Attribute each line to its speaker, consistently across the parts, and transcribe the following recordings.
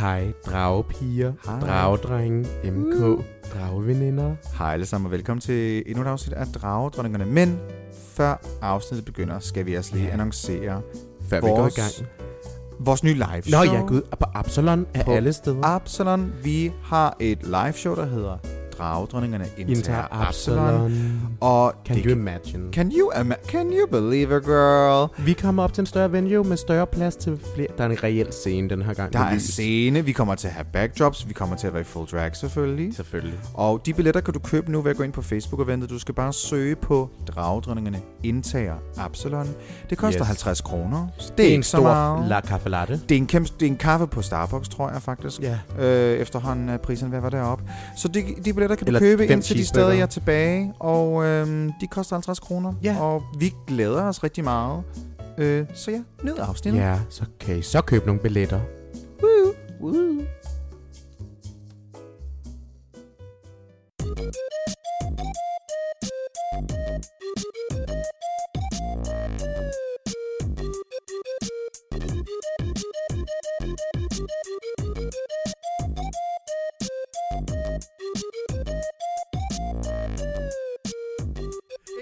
Speaker 1: Hej dragepiger,
Speaker 2: Hej. Mm.
Speaker 1: dragedrenge, MK, drageveninder.
Speaker 2: Hej alle sammen og velkommen til endnu et afsnit af Dragedronningerne. Men før afsnittet begynder, skal vi også lige
Speaker 1: Ja.
Speaker 2: annoncere
Speaker 1: Før vi går
Speaker 2: Vores
Speaker 1: i gang.
Speaker 2: vores nye live show.
Speaker 1: Nå ja, gud, og på Absalon er
Speaker 2: På
Speaker 1: alle steder.
Speaker 2: Absalon, vi har et live show, der hedder Dragedronningerne
Speaker 1: Inter
Speaker 2: Inter Absalon.
Speaker 1: Absalon.
Speaker 2: Og
Speaker 1: Can
Speaker 2: det
Speaker 1: you
Speaker 2: kan-
Speaker 1: imagine?
Speaker 2: Can you, ima- can you believe it, girl?
Speaker 1: Vi kommer op til en større venue med større plads til flere. Der er en reel scene den her gang.
Speaker 2: Der
Speaker 1: med
Speaker 2: er en
Speaker 1: lys.
Speaker 2: scene, vi kommer til at have backdrops, vi kommer til at være i full drag selvfølgelig.
Speaker 1: Selvfølgelig.
Speaker 2: Og de billetter kan du købe nu ved at gå ind på Facebook-eventet. Du skal bare søge på Dragedronningerne Indtager Absalon. Det koster
Speaker 1: Yes.
Speaker 2: yes. 50 kroner. Så
Speaker 1: Det er en
Speaker 2: så
Speaker 1: stor
Speaker 2: meget.
Speaker 1: la caffè latte.
Speaker 2: Det er, en kæmpe, det er en kaffe på Starbucks, tror jeg faktisk.
Speaker 1: Ja.
Speaker 2: Øh, efterhånden er prisen hvad var deroppe. Så de, de billetter kan
Speaker 1: Eller
Speaker 2: du købe,
Speaker 1: fem
Speaker 2: indtil de
Speaker 1: cheeseburgere.
Speaker 2: stadig er tilbage. Og øhm, de koster 50 kroner.
Speaker 1: Ja.
Speaker 2: Og vi glæder os rigtig meget. Øh, så ja, ned afsnittet.
Speaker 1: Ja, så kan I så købe nogle billetter.
Speaker 2: Woo, woo.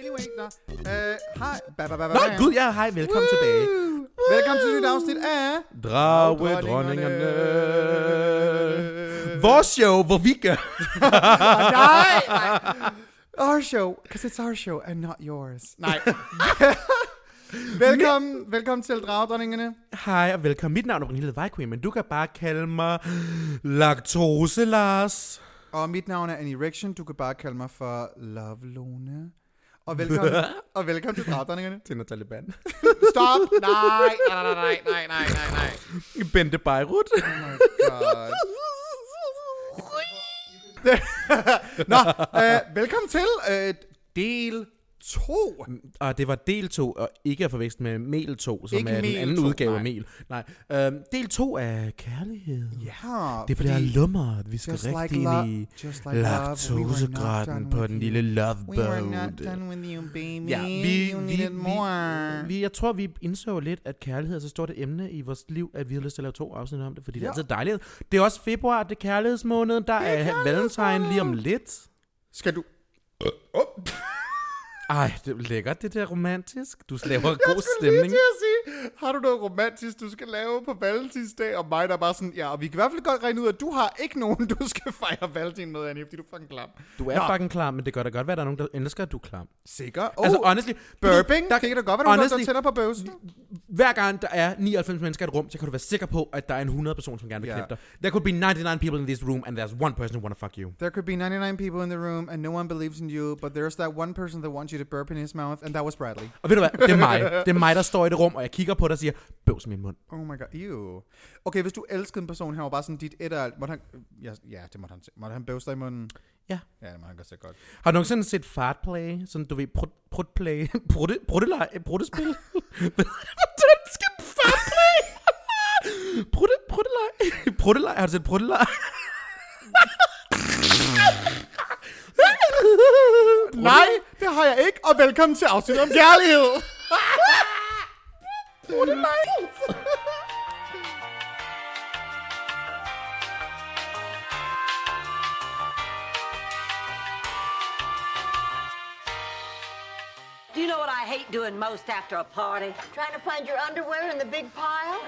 Speaker 2: Anyway, nå. Øh, hej. Ba, ba, ba, ba,
Speaker 1: Nå
Speaker 2: ba.
Speaker 1: gud, ja, hej, velkommen tilbage.
Speaker 2: Velkommen til et nyt afsnit af...
Speaker 1: Dragedronningerne. Vores show, hvor vi gør...
Speaker 2: Oh, nej! Our show, because it's our show and not yours. Nej. velkommen, velkommen til Dragedronningerne.
Speaker 1: Hej og velkommen. Mit navn er Brunhilde Vejkvinde, men du kan bare kalde mig Laktose Lars.
Speaker 2: Og mit navn er Annie Rection. Du kan bare kalde mig for Love Lone. Og velkommen, og velkommen til Dragedronningerne.
Speaker 1: Til noget Taliban.
Speaker 2: Stop! Nej, nej, nej, nej, nej, nej, nej, nej.
Speaker 1: Bente Beirut.
Speaker 2: Oh my god. Nå, øh, velkommen til øh, del 2.
Speaker 1: og det var del 2, og ikke at forveksle med mel 2, som
Speaker 2: Ikke
Speaker 1: er den
Speaker 2: mel
Speaker 1: anden
Speaker 2: to,
Speaker 1: udgave
Speaker 2: nej.
Speaker 1: af mel. Nej, øhm, del 2 er kærlighed.
Speaker 2: Ja,
Speaker 1: Det bliver lummeret. Vi skal
Speaker 2: Just
Speaker 1: rigtig
Speaker 2: like
Speaker 1: ind
Speaker 2: love-
Speaker 1: i
Speaker 2: just like love, we were not
Speaker 1: laktosegraten
Speaker 2: done
Speaker 1: på
Speaker 2: with
Speaker 1: den
Speaker 2: you.
Speaker 1: lille love
Speaker 2: We were not
Speaker 1: boat.
Speaker 2: done with you, baby.
Speaker 1: Ja,
Speaker 2: vi, you needed
Speaker 1: vi,
Speaker 2: more.
Speaker 1: Vi, jeg tror, vi indså lidt, at kærlighed er så stort et emne i vores liv, at vi har lyst til at lave to afsnit om det, fordi ja. det er
Speaker 2: Ja.
Speaker 1: altid dejligt. Det er også februar, det er kærlighedsmåned, der er, er valentine lige om lidt.
Speaker 2: Skal du... Øh,
Speaker 1: Ej, det er lækkert, det der romantisk. Du laver en
Speaker 2: Jeg
Speaker 1: god
Speaker 2: skulle lige
Speaker 1: stemning.
Speaker 2: til at sige, har du noget romantisk, du skal lave på valentinsdag? Og mig, der er bare sådan, ja, og vi kan i hvert fald godt regne ud, at du har ikke nogen, du skal fejre valentin med, Annie, fordi du er fucking klam.
Speaker 1: Du er fucking klam, men det gør da godt være, at der er nogen, der elsker, at du er klam.
Speaker 2: Sikker? Oh,
Speaker 1: Altså,
Speaker 2: altså,
Speaker 1: honestly,
Speaker 2: burping?
Speaker 1: der-
Speaker 2: Der, det kan da godt være, at du
Speaker 1: honestly,
Speaker 2: der tænder på bøvsen.
Speaker 1: Hver gang der er 99 mennesker i et rum, så kan du være sikker på, at der er en 100 person, som gerne vil
Speaker 2: Ja.
Speaker 1: knæppe dig. There could be 99 people in this room, and there's one person who wanna fuck you.
Speaker 2: There could be 99 people in the room, and no one believes in you, but there's that one person that wants you to burp in his mouth, and that was Bradley.
Speaker 1: Og ved du hvad, det er mig. Det er mig, der står i det rum, og jeg kigger på dig og siger, bøvs i min mund.
Speaker 2: Oh my god, ew. Okay, hvis du elskede en person, han var bare sådan dit et og alt, måtte han... øh, Ja, ja det måtte han se. Måtte han bøvse dig i munden?
Speaker 1: Ja.
Speaker 2: Ja, det må han godt se godt.
Speaker 1: Har du nogensinde set fartplay? Sådan, du ved, prut- prutplay? Prutte, prutteleje? Pruttespil? Hvordan skal fartplay? Prutte, prutteleje? Prutteleje? Har du set prutteleje?
Speaker 2: Nej, det har jeg ikke, og velkommen til afsnit om kærlighed.
Speaker 3: Do you know what I hate doing most after a party? Trying to find your underwear in the big pile?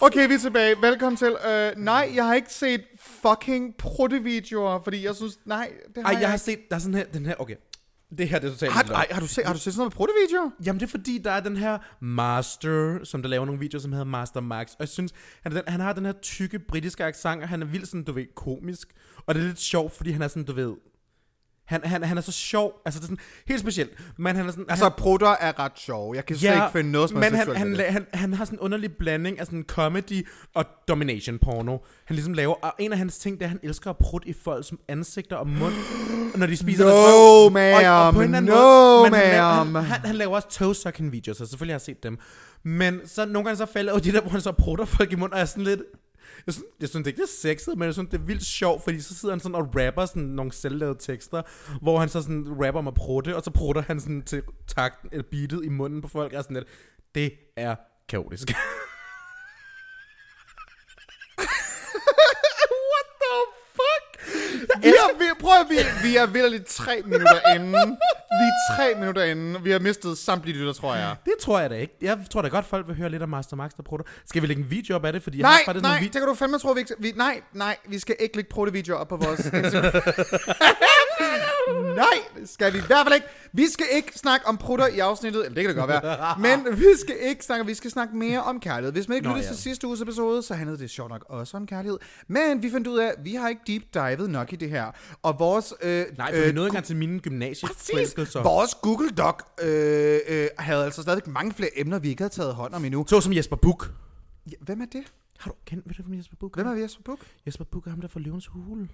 Speaker 2: Okay, vi er tilbage. Velkommen til. Uh, nej, jeg har ikke set fucking pruttevideoer, fordi jeg synes... Nej, det har
Speaker 1: Ej, jeg har
Speaker 2: ikke.
Speaker 1: set, der er sådan her, den her, okay. Det her, det er totalt
Speaker 2: Har,
Speaker 1: løgn.
Speaker 2: ej, har, du set, har du set sådan noget med pruttevideoer?
Speaker 1: Jamen det er fordi, der er den her Master, som der laver nogle videoer, som hedder Master Max. Og jeg synes, han, er den, han har den her tykke britiske accent, og han er vildt sådan, du ved, komisk. Og det er lidt sjovt, fordi han er sådan, du ved... Han, han, han er så sjov, altså det er sådan helt specielt, men han er sådan...
Speaker 2: Altså,
Speaker 1: han,
Speaker 2: prutter er ret sjove. Jeg kan slet ikke finde noget, som er
Speaker 1: men han,
Speaker 2: seksuelt
Speaker 1: han,
Speaker 2: ved
Speaker 1: la- han, han har sådan en underlig blanding af sådan comedy og domination porno. Han ligesom laver, og en af hans ting, det er, at han elsker at prutte i folk som ansigter og mund, når de spiser
Speaker 2: No,
Speaker 1: deres røv.
Speaker 2: ma'am. No,
Speaker 1: men han, laver, han,
Speaker 2: ma'am.
Speaker 1: han, han laver også toe sucking videoer, så selvfølgelig har jeg set dem. Men så nogle gange så falder jo de der, hvor han så prutter folk i munden, og er sådan lidt... Jeg synes, jeg synes ikke, det er sexet, men jeg synes, det er vildt sjovt, fordi så sidder han sådan og rapper sådan nogle selvlavede tekster, hvor han så sådan rapper om at prutte, og så prutter han sådan til takten, eller beatet i munden på folk, og sådan lidt, det er kaotisk.
Speaker 2: What the fuck? Vi er, vi, prøv at vi, vi er vildt tre minutter inden. Vi er tre minutter inden. Vi har mistet samtlige lytter, tror jeg.
Speaker 1: det tror jeg da ikke. Jeg tror da godt, folk vil høre lidt om Master Max, der prutter. Skal vi lægge en video op af det? Fordi jeg
Speaker 2: Nej,
Speaker 1: har faktisk
Speaker 2: nej,
Speaker 1: nogle
Speaker 2: det
Speaker 1: video-
Speaker 2: kan du fandme tro, vi ikke... Vi, nej, nej, vi skal ikke lægge protevideoer op på vores Instagram. nej, det skal vi i hvert fald ikke. Vi skal ikke snakke om prutter i afsnittet, eller det kan det godt være, men vi skal ikke snakke, vi skal snakke mere om kærlighed. Hvis man ikke
Speaker 1: Nå,
Speaker 2: lyttede
Speaker 1: ja.
Speaker 2: til sidste uges episode, så handlede det sjovt nok også om kærlighed, men vi fandt ud af, at vi har ikke deep divet nok i det her, og vores... Øh,
Speaker 1: Nej, for øh, vi nåede ikke engang til mine gymnasieflæskelser.
Speaker 2: Præcis. Vores Google Doc øh, øh, havde altså stadig mange flere emner, vi ikke havde taget hånd om endnu.
Speaker 1: Så som Jesper Buch.
Speaker 2: Ja, Hvem er det?
Speaker 1: Har du kendt, ved du, hvem Jesper Buch
Speaker 2: Hvem er Jesper Buch?
Speaker 1: Jesper Buch er ham, der får løvens hule.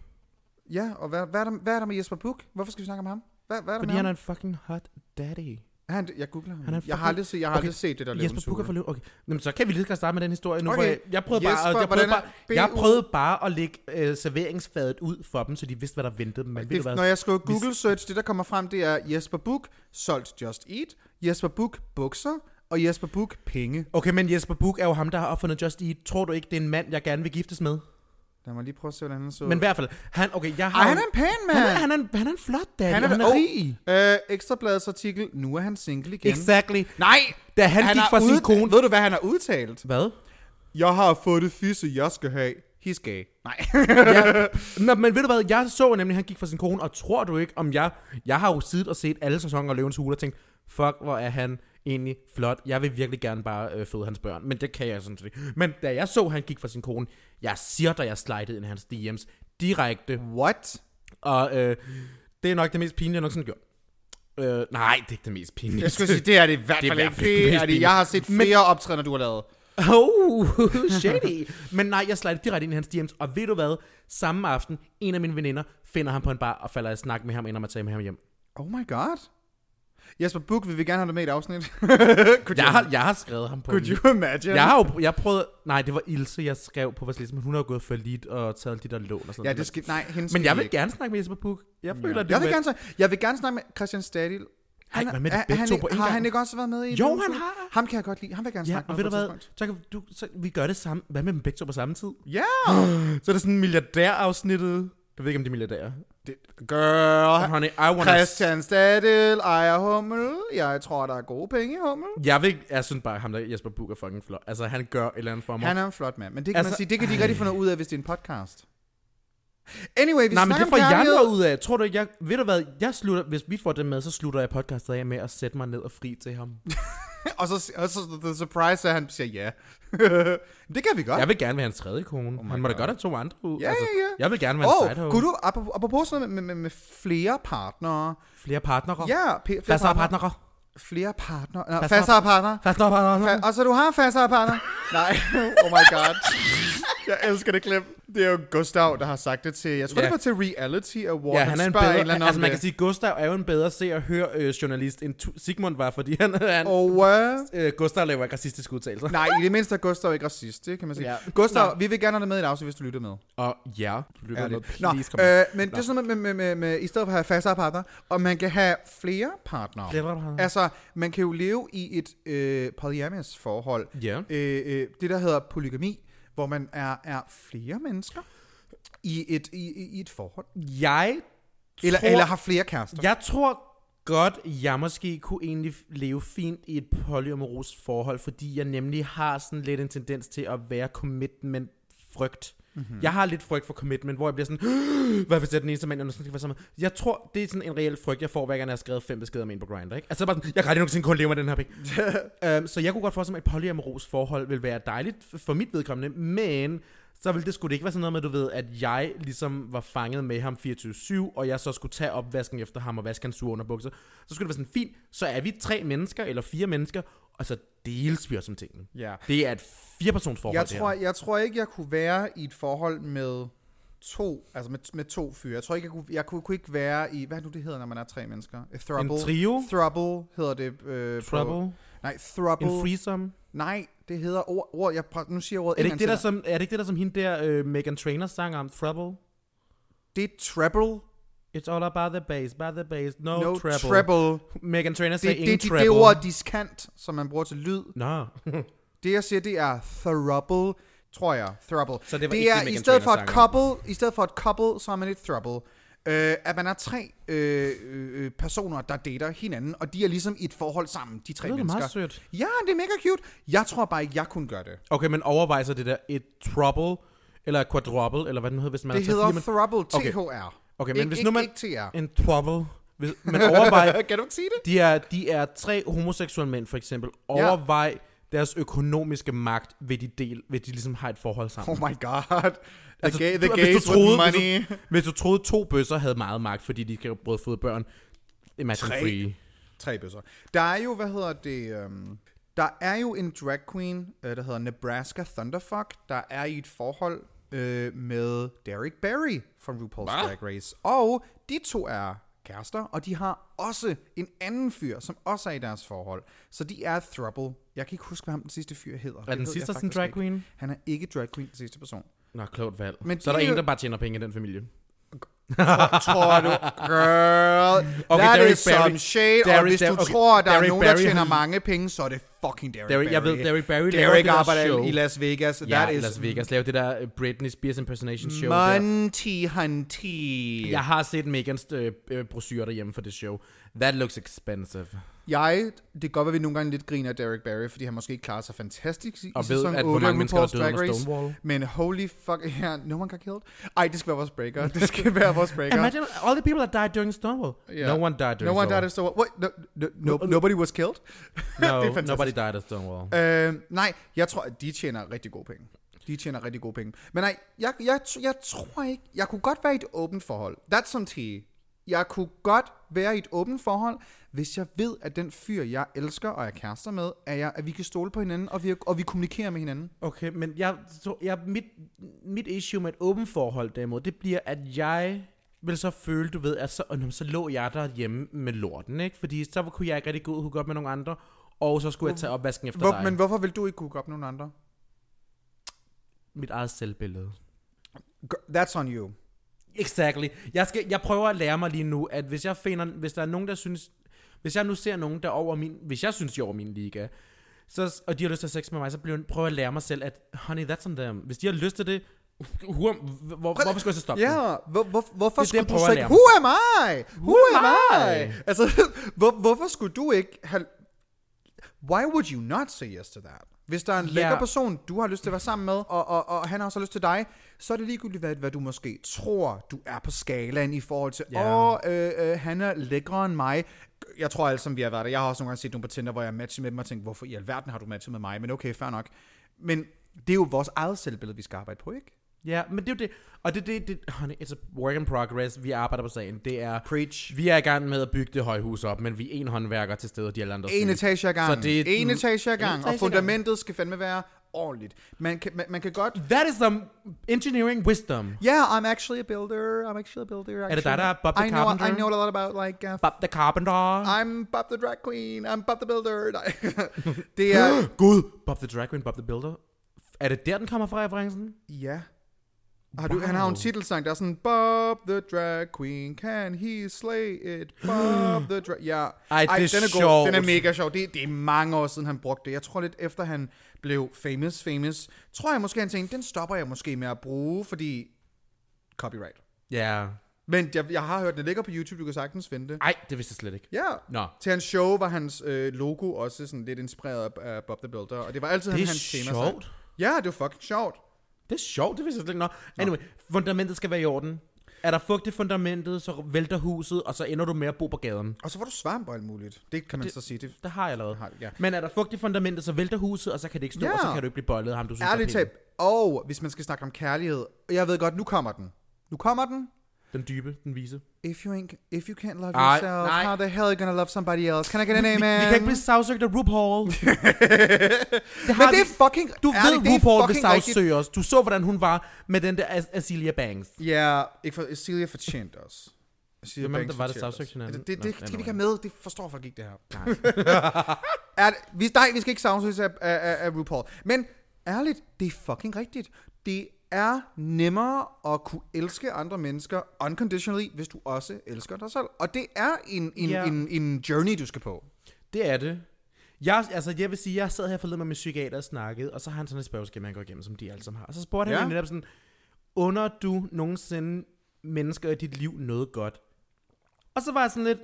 Speaker 2: Ja, og hvad, hvad, er der, hvad er der med Jesper Buch? Hvorfor skal vi snakke om ham? Hvad, hvad er der
Speaker 1: Fordi
Speaker 2: med
Speaker 1: han er
Speaker 2: ham?
Speaker 1: en fucking hot daddy.
Speaker 2: Han, jeg googler ham.
Speaker 1: Han er en
Speaker 2: jeg har
Speaker 1: fucking-
Speaker 2: aldrig set, jeg har
Speaker 1: Okay,
Speaker 2: aldrig set det der
Speaker 1: Jesper Buch er for løv. Okay. Jamen, så kan vi lige så godt starte med den historie nu.
Speaker 2: Okay.
Speaker 1: Okay. Jeg, jeg, prøvede bare,
Speaker 2: Jesper,
Speaker 1: jeg, prøvede
Speaker 2: hvordan
Speaker 1: bare,
Speaker 2: er
Speaker 1: jeg
Speaker 2: BU?
Speaker 1: prøvede bare at lægge øh, serveringsfadet ud for dem, så de vidste, hvad der ventede dem. Men ved du
Speaker 2: det,
Speaker 1: hvad?
Speaker 2: Når jeg skriver Google Search, det der kommer frem, det er Jesper Buch, solgt Just Eat, Jesper Buch, bukser, og Jesper Buch, penge.
Speaker 1: Okay, men Jesper Buch er jo ham, der har opfundet Just Eat. Tror du ikke, det er en mand, jeg gerne vil giftes med?
Speaker 2: Lad mig lige prøve at se, hvordan han så.
Speaker 1: Men i hvert fald, han, okay, jeg har...
Speaker 2: Øh. Ej,
Speaker 1: jo-
Speaker 2: han er en pæn mand!
Speaker 1: Han er, han er, en, han er en flot daddy, han er, han er
Speaker 2: oh,
Speaker 1: rig.
Speaker 2: Øh, Ekstrabladets artikel, nu er han single igen.
Speaker 1: Exactly.
Speaker 2: Nej!
Speaker 1: Da han gik
Speaker 2: har
Speaker 1: fra sin
Speaker 2: ud-
Speaker 1: kone-
Speaker 2: Ved du, hvad han har udtalt?
Speaker 1: Hvad?
Speaker 2: Jeg har fået det fisse, jeg skal have. He's gay. Nej.
Speaker 1: ja. Nå, men ved du hvad, jeg så nemlig, at han gik fra sin kone, og tror du ikke, om jeg... Jeg har jo siddet og set alle sæsoner af Løvens Hule og tænkt, fuck, hvor er han egentlig flot. Jeg vil virkelig gerne bare øh, føde hans børn, men det kan jeg sådan set ikke. Men da jeg så, at han gik fra sin kone, jeg siger dig, jeg slidede ind i hans DM's direkte,
Speaker 2: What?
Speaker 1: og øh, det er nok det mest pinlige, jeg nogensinde har gjort. Øh, nej, det er ikke det mest pinlige.
Speaker 2: Jeg skulle sige, det er det i hvert
Speaker 1: Det er
Speaker 2: fald
Speaker 1: i
Speaker 2: ikke.
Speaker 1: hvert fald
Speaker 2: Det
Speaker 1: mest
Speaker 2: er det.
Speaker 1: pinligt.
Speaker 2: Jeg har set flere optrædener, du har lavet.
Speaker 1: Oh, shady. Men nej, jeg slider direkte ind i hans DM's, og ved du hvad? Samme aften, en af mine veninder finder ham på en bar og falder i snak med ham, ender med at tage med ham hjem.
Speaker 2: Oh my god. Jesper Buch, vil vi gerne have dig med i et afsnit? Could
Speaker 1: Jeg har, jeg har skrevet ham på
Speaker 2: Could
Speaker 1: en-
Speaker 2: you imagine?
Speaker 1: Jeg har jo jeg prøvede... Nej, det var Ilse, jeg skrev på vores liste, men hun har jo gået for lidt og taget de der lån og sådan
Speaker 2: Ja,
Speaker 1: noget.
Speaker 2: det skal... Nej, hende skal
Speaker 1: Men jeg
Speaker 2: vi
Speaker 1: vil
Speaker 2: ikke.
Speaker 1: gerne snakke med Jesper Buch. Jeg føler, det
Speaker 2: Jeg vil,
Speaker 1: var-
Speaker 2: gerne, snakke- jeg vil gerne snakke med Christian Stadil.
Speaker 1: Ej, hvad med det
Speaker 2: er-
Speaker 1: begge
Speaker 2: han,
Speaker 1: to
Speaker 2: ikke-
Speaker 1: på én
Speaker 2: Har
Speaker 1: gang?
Speaker 2: han ikke også været med i
Speaker 1: Jo,
Speaker 2: Løvens
Speaker 1: han
Speaker 2: Hule?
Speaker 1: har.
Speaker 2: Ham kan jeg godt lide. Ham vil jeg gerne
Speaker 1: Ja,
Speaker 2: snakke
Speaker 1: og
Speaker 2: med
Speaker 1: ved du
Speaker 2: på et
Speaker 1: hvad?
Speaker 2: tidspunkt.
Speaker 1: Så kan du, så, vi gør det samme. Hvad med dem begge to på samme tid?
Speaker 2: Ja!
Speaker 1: Så er der sådan milliardærafsnittet. Jeg ved ikke, om de er milliardærer.
Speaker 2: Det- Girl.
Speaker 1: Honey, I wanna...
Speaker 2: Christian Stadil ejer hummel. Jeg tror, der er gode penge i hummel.
Speaker 1: Jeg vil ikke... Jeg synes bare, ham der Jesper Buch er fucking flot. Altså, han gør et eller andet for mig.
Speaker 2: Han er en flot mand, men det kan altså, man
Speaker 1: Altså,
Speaker 2: sige, det kan de ikke rigtig finde ud af, hvis det er en podcast. Anyway, vi
Speaker 1: Nej, men
Speaker 2: snakker
Speaker 1: det får
Speaker 2: om
Speaker 1: jeg
Speaker 2: kærlighed.
Speaker 1: noget ud af. Tror du, ikke, jeg... Ved du hvad? Jeg slutter... Hvis vi får det med, så slutter jeg podcastet af med at sætte mig ned og fri til ham.
Speaker 2: Og så, og så the surprise er, at han siger ja. det kan vi godt.
Speaker 1: Jeg vil gerne være hans tredje kone. Oh han må da godt have to andre ud. Altså,
Speaker 2: Ja, ja, ja.
Speaker 1: Jeg vil gerne være en
Speaker 2: Åh,
Speaker 1: sidehoe.
Speaker 2: kunne du, apropos- apropos sådan noget med, med, med flere partnere.
Speaker 1: Flere partnere.
Speaker 2: Ja, p- flere
Speaker 1: Fastere
Speaker 2: partnere.
Speaker 1: partnere.
Speaker 2: Flere partnere. Nå,
Speaker 1: Fastere-
Speaker 2: fastere partnere.
Speaker 1: Fastere partnere.
Speaker 2: Fa- og så du har fastere partnere? Mm. Nej, oh my god. Jeg elsker det klip. Det er jo Gustav, der har sagt det til, jeg tror,
Speaker 1: Ja.
Speaker 2: det var til Reality Award.
Speaker 1: Ja, han er en
Speaker 2: spørger
Speaker 1: bedre...
Speaker 2: anden om
Speaker 1: altså, man kan
Speaker 2: det.
Speaker 1: sige, Gustav er jo en bedre se- og høre-journalist, end Tu- Sigmund var, fordi han... han
Speaker 2: Og øh,
Speaker 1: øh, Gustav laver ikke racistiske udtalelser.
Speaker 2: Nej, i det mindste er Gustav ikke racist, det kan man sige.
Speaker 1: Ja.
Speaker 2: Ja. Gustav, vi vil gerne have dig med i et afsnit, hvis du lytter med.
Speaker 1: Og ja, du lytter med.
Speaker 2: Nå,
Speaker 1: Please, kom
Speaker 2: øh, men det er sådan noget med, med, med, med, i stedet for at have fastere partner, og man kan have flere partnere.
Speaker 1: Flere partnere.
Speaker 2: Altså, man kan jo leve i et øh, polyamorous forhold.
Speaker 1: Ja.
Speaker 2: Øh, øh, det, der hedder polygami, hvor man er, er flere mennesker i et, i, i- i et forhold.
Speaker 1: Jeg
Speaker 2: Eller,
Speaker 1: tror,
Speaker 2: eller har flere kærester.
Speaker 1: Jeg tror godt, jeg måske kunne egentlig leve fint i et polyamoros forhold, fordi jeg nemlig har sådan lidt en tendens til at være commitment frygt.
Speaker 2: Mhm.
Speaker 1: Mm-hmm. Jeg har lidt frygt for commitment, hvor jeg bliver sådan, hvad hvis jeg er den eneste mand, jeg sådan skal være sammen med? Jeg tror, det er sådan en reel frygt, jeg får, hver gang jeg har skrevet fem beskeder med en på Grindr, ikke? Altså bare sådan, jeg kan aldrig nogensinde kun leve med den her pik. um, så jeg kunne godt forestille mig, at et polyamoros forhold vil være dejligt f- for mit vedkommende, men så ville det skulle det ikke være sådan noget med, du ved, at jeg ligesom var fanget med ham 24-7, og jeg så skulle tage opvasken efter ham og vaske hans sure underbukser. Så skulle det være sådan, fint, så er vi tre mennesker eller fire mennesker, og så deles vi os om tingene.
Speaker 2: Ja.
Speaker 1: Det er et firepersons forhold,
Speaker 2: Jeg
Speaker 1: det her.
Speaker 2: tror, jeg tror ikke, jeg kunne være i et forhold med to, altså med, med to fyre. Jeg tror ikke, jeg kunne, jeg kunne, kunne ikke være i, hvad er nu det hedder, når man er tre mennesker? A throuble.
Speaker 1: En trio?
Speaker 2: Throuble hedder det. Øh,
Speaker 1: Trouble?
Speaker 2: På, nej, throuble.
Speaker 1: En threesome?
Speaker 2: nej, Det hedder ord, ord jeg, pra- nu siger jeg ordet
Speaker 1: Er det,
Speaker 2: en
Speaker 1: ikke det, der
Speaker 2: gang til
Speaker 1: som, er det ikke det, der som hende der, øh, Megan Trainor sang om, Trouble?
Speaker 2: dig. Det er treble,
Speaker 1: It's all about the bass, about the bass, no,
Speaker 2: no treble.
Speaker 1: treble. Megan Trainor
Speaker 2: Det,
Speaker 1: sagde
Speaker 2: det,
Speaker 1: ingen
Speaker 2: det, det,
Speaker 1: treble.
Speaker 2: det ord diskant, som man bruger til lyd.
Speaker 1: Nå.
Speaker 2: Det jeg siger, det er throuble, tror jeg. Throuble.
Speaker 1: Så det var
Speaker 2: det
Speaker 1: ikke
Speaker 2: er
Speaker 1: det, Meghan
Speaker 2: i stedet for
Speaker 1: Trainor
Speaker 2: et
Speaker 1: sang om.
Speaker 2: couple, i stedet for et couple, så er man et throuble. Øh, at man er tre øh, øh, personer, der dater hinanden, og de er ligesom i et forhold sammen, de tre
Speaker 1: lyder da
Speaker 2: mennesker.
Speaker 1: meget sødt.
Speaker 2: Ja, det er mega cute. Jeg tror bare ikke, jeg kunne gøre det.
Speaker 1: Okay, men overvej så det der et trouble, eller et quadruple, eller hvad den hedder, hvis man
Speaker 2: Det
Speaker 1: har
Speaker 2: hedder
Speaker 1: men...
Speaker 2: throuble,
Speaker 1: Okay.
Speaker 2: THR. Okay,
Speaker 1: Okay, men
Speaker 2: ikke,
Speaker 1: hvis
Speaker 2: ikke,
Speaker 1: nu man...
Speaker 2: Ikke TR.
Speaker 1: En trouble. Hvis, men overvej...
Speaker 2: kan du ikke sige det?
Speaker 1: De er, de er tre homoseksuelle mænd, for eksempel. Overvej deres økonomiske magt, ved de, del, ved de ligesom har et forhold sammen.
Speaker 2: Oh my god. The, altså, gay, the
Speaker 1: du-
Speaker 2: gays with money.
Speaker 1: Hvis du, hvis du troede, to bøsser havde meget magt, fordi de kan brødføde børn, imagine
Speaker 2: Tre.
Speaker 1: free.
Speaker 2: Tre bøsser. Der er jo, hvad hedder det... Øhm, der er jo en drag queen, øh, der hedder Nebraska Thunderfuck, der er i et forhold øh, med Derek Barry fra RuPaul's Drag Race. Og de to er kærester, og de har også en anden fyr, som også er i deres forhold. Så de er throuple. Jeg kan ikke huske, hvad ham den sidste fyr hedder. Det
Speaker 1: den
Speaker 2: ved jeg
Speaker 1: sidste sådan
Speaker 2: faktisk
Speaker 1: drag
Speaker 2: ikke.
Speaker 1: queen?
Speaker 2: Han er ikke drag queen, den sidste person.
Speaker 1: Nå, klogt valg.
Speaker 2: Men
Speaker 1: Men så er
Speaker 2: de
Speaker 1: der
Speaker 2: er
Speaker 1: en,
Speaker 2: jo-
Speaker 1: der bare tjener penge i den familie.
Speaker 2: tror du, girl, okay,
Speaker 1: Okay,
Speaker 2: that
Speaker 1: Derrick
Speaker 2: is
Speaker 1: Barry.
Speaker 2: some shade, og
Speaker 1: Derrick-
Speaker 2: hvis du
Speaker 1: Der- okay,
Speaker 2: tror, der er
Speaker 1: Derrick
Speaker 2: nogen,
Speaker 1: Barry,
Speaker 2: der tjener
Speaker 1: han-
Speaker 2: mange penge, så er det fucking Derrick
Speaker 1: Derrick-
Speaker 2: Barry.
Speaker 1: jeg ved, Derrick Barry laver
Speaker 2: Derrick
Speaker 1: det der
Speaker 2: arbejder
Speaker 1: show.
Speaker 2: i Las Vegas,
Speaker 1: Ja,
Speaker 2: that is
Speaker 1: Las Vegas laver det der øh, Britney Spears impersonation show. der.
Speaker 2: Monty Hunty.
Speaker 1: Jeg har set Megans øh, øh, brochure derhjemme for det show. That looks expensive.
Speaker 2: Jeg, det kan godt være, vi nogle gange lidt griner af Derek Barry, fordi han måske ikke klarer sig fantastisk i,
Speaker 1: Og
Speaker 2: i
Speaker 1: ved,
Speaker 2: sæson
Speaker 1: at
Speaker 2: 8
Speaker 1: hvor mange mennesker, der
Speaker 2: RuPaul's
Speaker 1: døde
Speaker 2: Drag
Speaker 1: under
Speaker 2: Race.
Speaker 1: Stonewall.
Speaker 2: Men holy fuck, ja, no one got killed. Ej, det skal være vores breaker. Det skal være vores breaker.
Speaker 1: Imagine all the people that died during Stonewall.
Speaker 2: Yeah.
Speaker 1: No one died during
Speaker 2: No one died
Speaker 1: Stonewall.
Speaker 2: at Stonewall. What? No, no, no, nobody was killed? det er
Speaker 1: no,
Speaker 2: fantastisk.
Speaker 1: nobody died at Stonewall.
Speaker 2: Øh, nej, jeg tror, at de tjener rigtig gode penge. De tjener rigtig gode penge. Men nej, jeg, jeg, tr- jeg tror ikke... Jeg kunne godt være i et åbent forhold. That's some tea. Jeg kunne godt være i et åbent forhold, hvis jeg ved, at den fyr, jeg elsker og er kærester med, er jeg, at vi kan stole på hinanden, og vi, og vi kommunikerer med hinanden.
Speaker 1: Okay, men jeg, så jeg, mit, mit issue med et åbent forhold derimod, det bliver, at jeg vil så føle, du ved, at så, og nå, så lå jeg derhjemme med lorten, ikke? Fordi så kunne jeg ikke rigtig gå ud og hooke op med nogle andre, og så skulle jeg tage opvasken efter
Speaker 2: Hvor,
Speaker 1: dig.
Speaker 2: men hvorfor vil du ikke kunne op nogen andre?
Speaker 1: Mit eget selvbillede.
Speaker 2: G- That's on you.
Speaker 1: Exactly. Jeg, skal, jeg prøver at lære mig lige nu, at hvis jeg finder, hvis der er nogen, der synes, hvis jeg nu ser nogen, der er over min, hvis jeg synes, de er over min liga, så, og de har lyst til at have sex med mig, så bliver, prøver jeg at lære mig selv, at honey, that's on them. Hvis de har lyst til det, hvor, hvor, hvorfor skulle jeg så stoppe dem?
Speaker 2: Ja, hvor, hvor, hvorfor
Speaker 1: Det er det, jeg
Speaker 2: skulle du
Speaker 1: prøver
Speaker 2: så
Speaker 1: at
Speaker 2: ikke...
Speaker 1: lære
Speaker 2: Who am I? Who, am I?
Speaker 1: am I?
Speaker 2: Altså, hvor, hvorfor skulle du ikke have... Why would you not say yes to that? Hvis der er en
Speaker 1: Ja.
Speaker 2: lækker person, du har lyst til at være sammen med, og, og, og han har så lyst til dig, så er det ligegyldigt, hvad, hvad du måske tror, du er på skalaen i forhold til, åh,
Speaker 1: Ja.
Speaker 2: øh, øh, han er lækkere end mig. Jeg tror alle, som vi har været der. Jeg har også nogle gange set nogle på Tinder, hvor jeg matcher med dem og tænker, hvorfor i alverden har du matchet med mig? Men okay, fair nok. Men det er jo vores eget selvbillede, vi skal arbejde på, ikke?
Speaker 1: Ja, men det er jo det. Og det er det, det, honey, it's a work in progress. Vi arbejder på sagen. Det er,
Speaker 2: Preach.
Speaker 1: vi er i gang med at bygge det højhus op, men vi er en håndværker til stede, og de alle andre
Speaker 2: En
Speaker 1: syge.
Speaker 2: etage ad gangen.
Speaker 1: Så det er
Speaker 2: en etage ad gangen.
Speaker 1: etage
Speaker 2: Og
Speaker 1: ad
Speaker 2: fundamentet skal fandme være ordentligt. Man kan, man, man kan godt...
Speaker 1: That is some engineering wisdom.
Speaker 2: Yeah, I'm actually a builder. I'm actually a builder. Actually.
Speaker 1: det dig, der er Bob the
Speaker 2: I know, I
Speaker 1: Carpenter?
Speaker 2: know a lot about, like... Uh,
Speaker 1: Bob the Carpenter.
Speaker 2: I'm Bob the Drag Queen. I'm Bob the Builder. Nej. det er...
Speaker 1: Gud. Bob the Drag Queen, Bob the Builder. Er det der, den kommer fra, referencen?
Speaker 2: Ja. Har du, Han har jo en titelsang, der er sådan... Bob the Drag Queen, can he slay it? Bob the Drag... Ja.
Speaker 1: Ej, det er
Speaker 2: den er
Speaker 1: sjovt.
Speaker 2: Den er mega sjov. Det, det er mange år siden, han brugte det. Jeg tror lidt efter, han blev famous, famous. Tror jeg måske, han tænkte, den stopper jeg måske med at bruge, fordi... Copyright.
Speaker 1: Ja. Yeah.
Speaker 2: Men jeg, jeg har hørt, den ligger på YouTube, du kan sagtens finde det.
Speaker 1: Ej, det vidste jeg slet ikke.
Speaker 2: Ja.
Speaker 1: Nå.
Speaker 2: Til hans show var hans øh, logo også sådan lidt inspireret af- af Bob the Builder, og det var altid
Speaker 1: Det er
Speaker 2: hans tema.
Speaker 1: sjovt.
Speaker 2: Ja, det var fucking sjovt.
Speaker 1: Det er sjovt, det vidste jeg slet ikke. Nå. Anyway, fundamentet skal være i orden. Er der fugt i fundamentet, så vælter huset, og så ender du med at bo på gaden.
Speaker 2: Og så var du svamp og alt muligt. Det kan man det, så sige. Det,
Speaker 1: Det har jeg allerede.
Speaker 2: Har- ja.
Speaker 1: Men er der fugt i fundamentet, så vælter huset, og så kan det ikke stå,
Speaker 2: Ja.
Speaker 1: ja. og så kan du ikke blive bollet af ham, du synes
Speaker 2: Ærligt
Speaker 1: er
Speaker 2: talt. Og hvis man skal snakke om kærlighed, og jeg ved godt, nu kommer den. Nu kommer den.
Speaker 1: Den dybe, den vise.
Speaker 2: If you, ain't, if you can't love
Speaker 1: Nej,
Speaker 2: yourself,
Speaker 1: nej.
Speaker 2: how the hell are you gonna love somebody else? Can I get an amen?
Speaker 1: Vi, vi kan ikke blive sagsøgt af RuPaul. det
Speaker 2: Men
Speaker 1: har
Speaker 2: det
Speaker 1: vi-
Speaker 2: er fucking
Speaker 1: Du
Speaker 2: ærligt, det
Speaker 1: ved,
Speaker 2: er
Speaker 1: RuPaul vil
Speaker 2: fucking rigtigt.
Speaker 1: sagsøge os. Du så, hvordan hun var med den der As- Azealia Banks.
Speaker 2: Ja, ikke for, Celia fortjente os. Celia
Speaker 1: Hvem er det,
Speaker 2: Banks
Speaker 1: der var, der
Speaker 2: fortjente os.
Speaker 1: sagsøgte hinanden?
Speaker 2: Det, det,
Speaker 1: Nå,
Speaker 2: det skal vi
Speaker 1: anyway.
Speaker 2: ikke have med. Det forstår folk ikke, det her. Er det, vi, nej, vi skal ikke soundtrace af, af, af, af RuPaul. Men ærligt, det er fucking rigtigt. Det er nemmere at kunne elske andre mennesker unconditionally, hvis du også elsker dig selv. Og det er en, en,
Speaker 1: Ja.
Speaker 2: yeah. en, en journey, du skal på.
Speaker 1: Det er det. Jeg, altså, jeg vil sige, jeg sad her forleden med min psykiater og snakkede, og så har han sådan et spørgeskema, han går igennem, som de alle sammen har. Og så spurgte ja.
Speaker 2: Ja.
Speaker 1: han jo netop sådan, under du nogensinde mennesker i dit liv noget godt? Og så var jeg sådan lidt,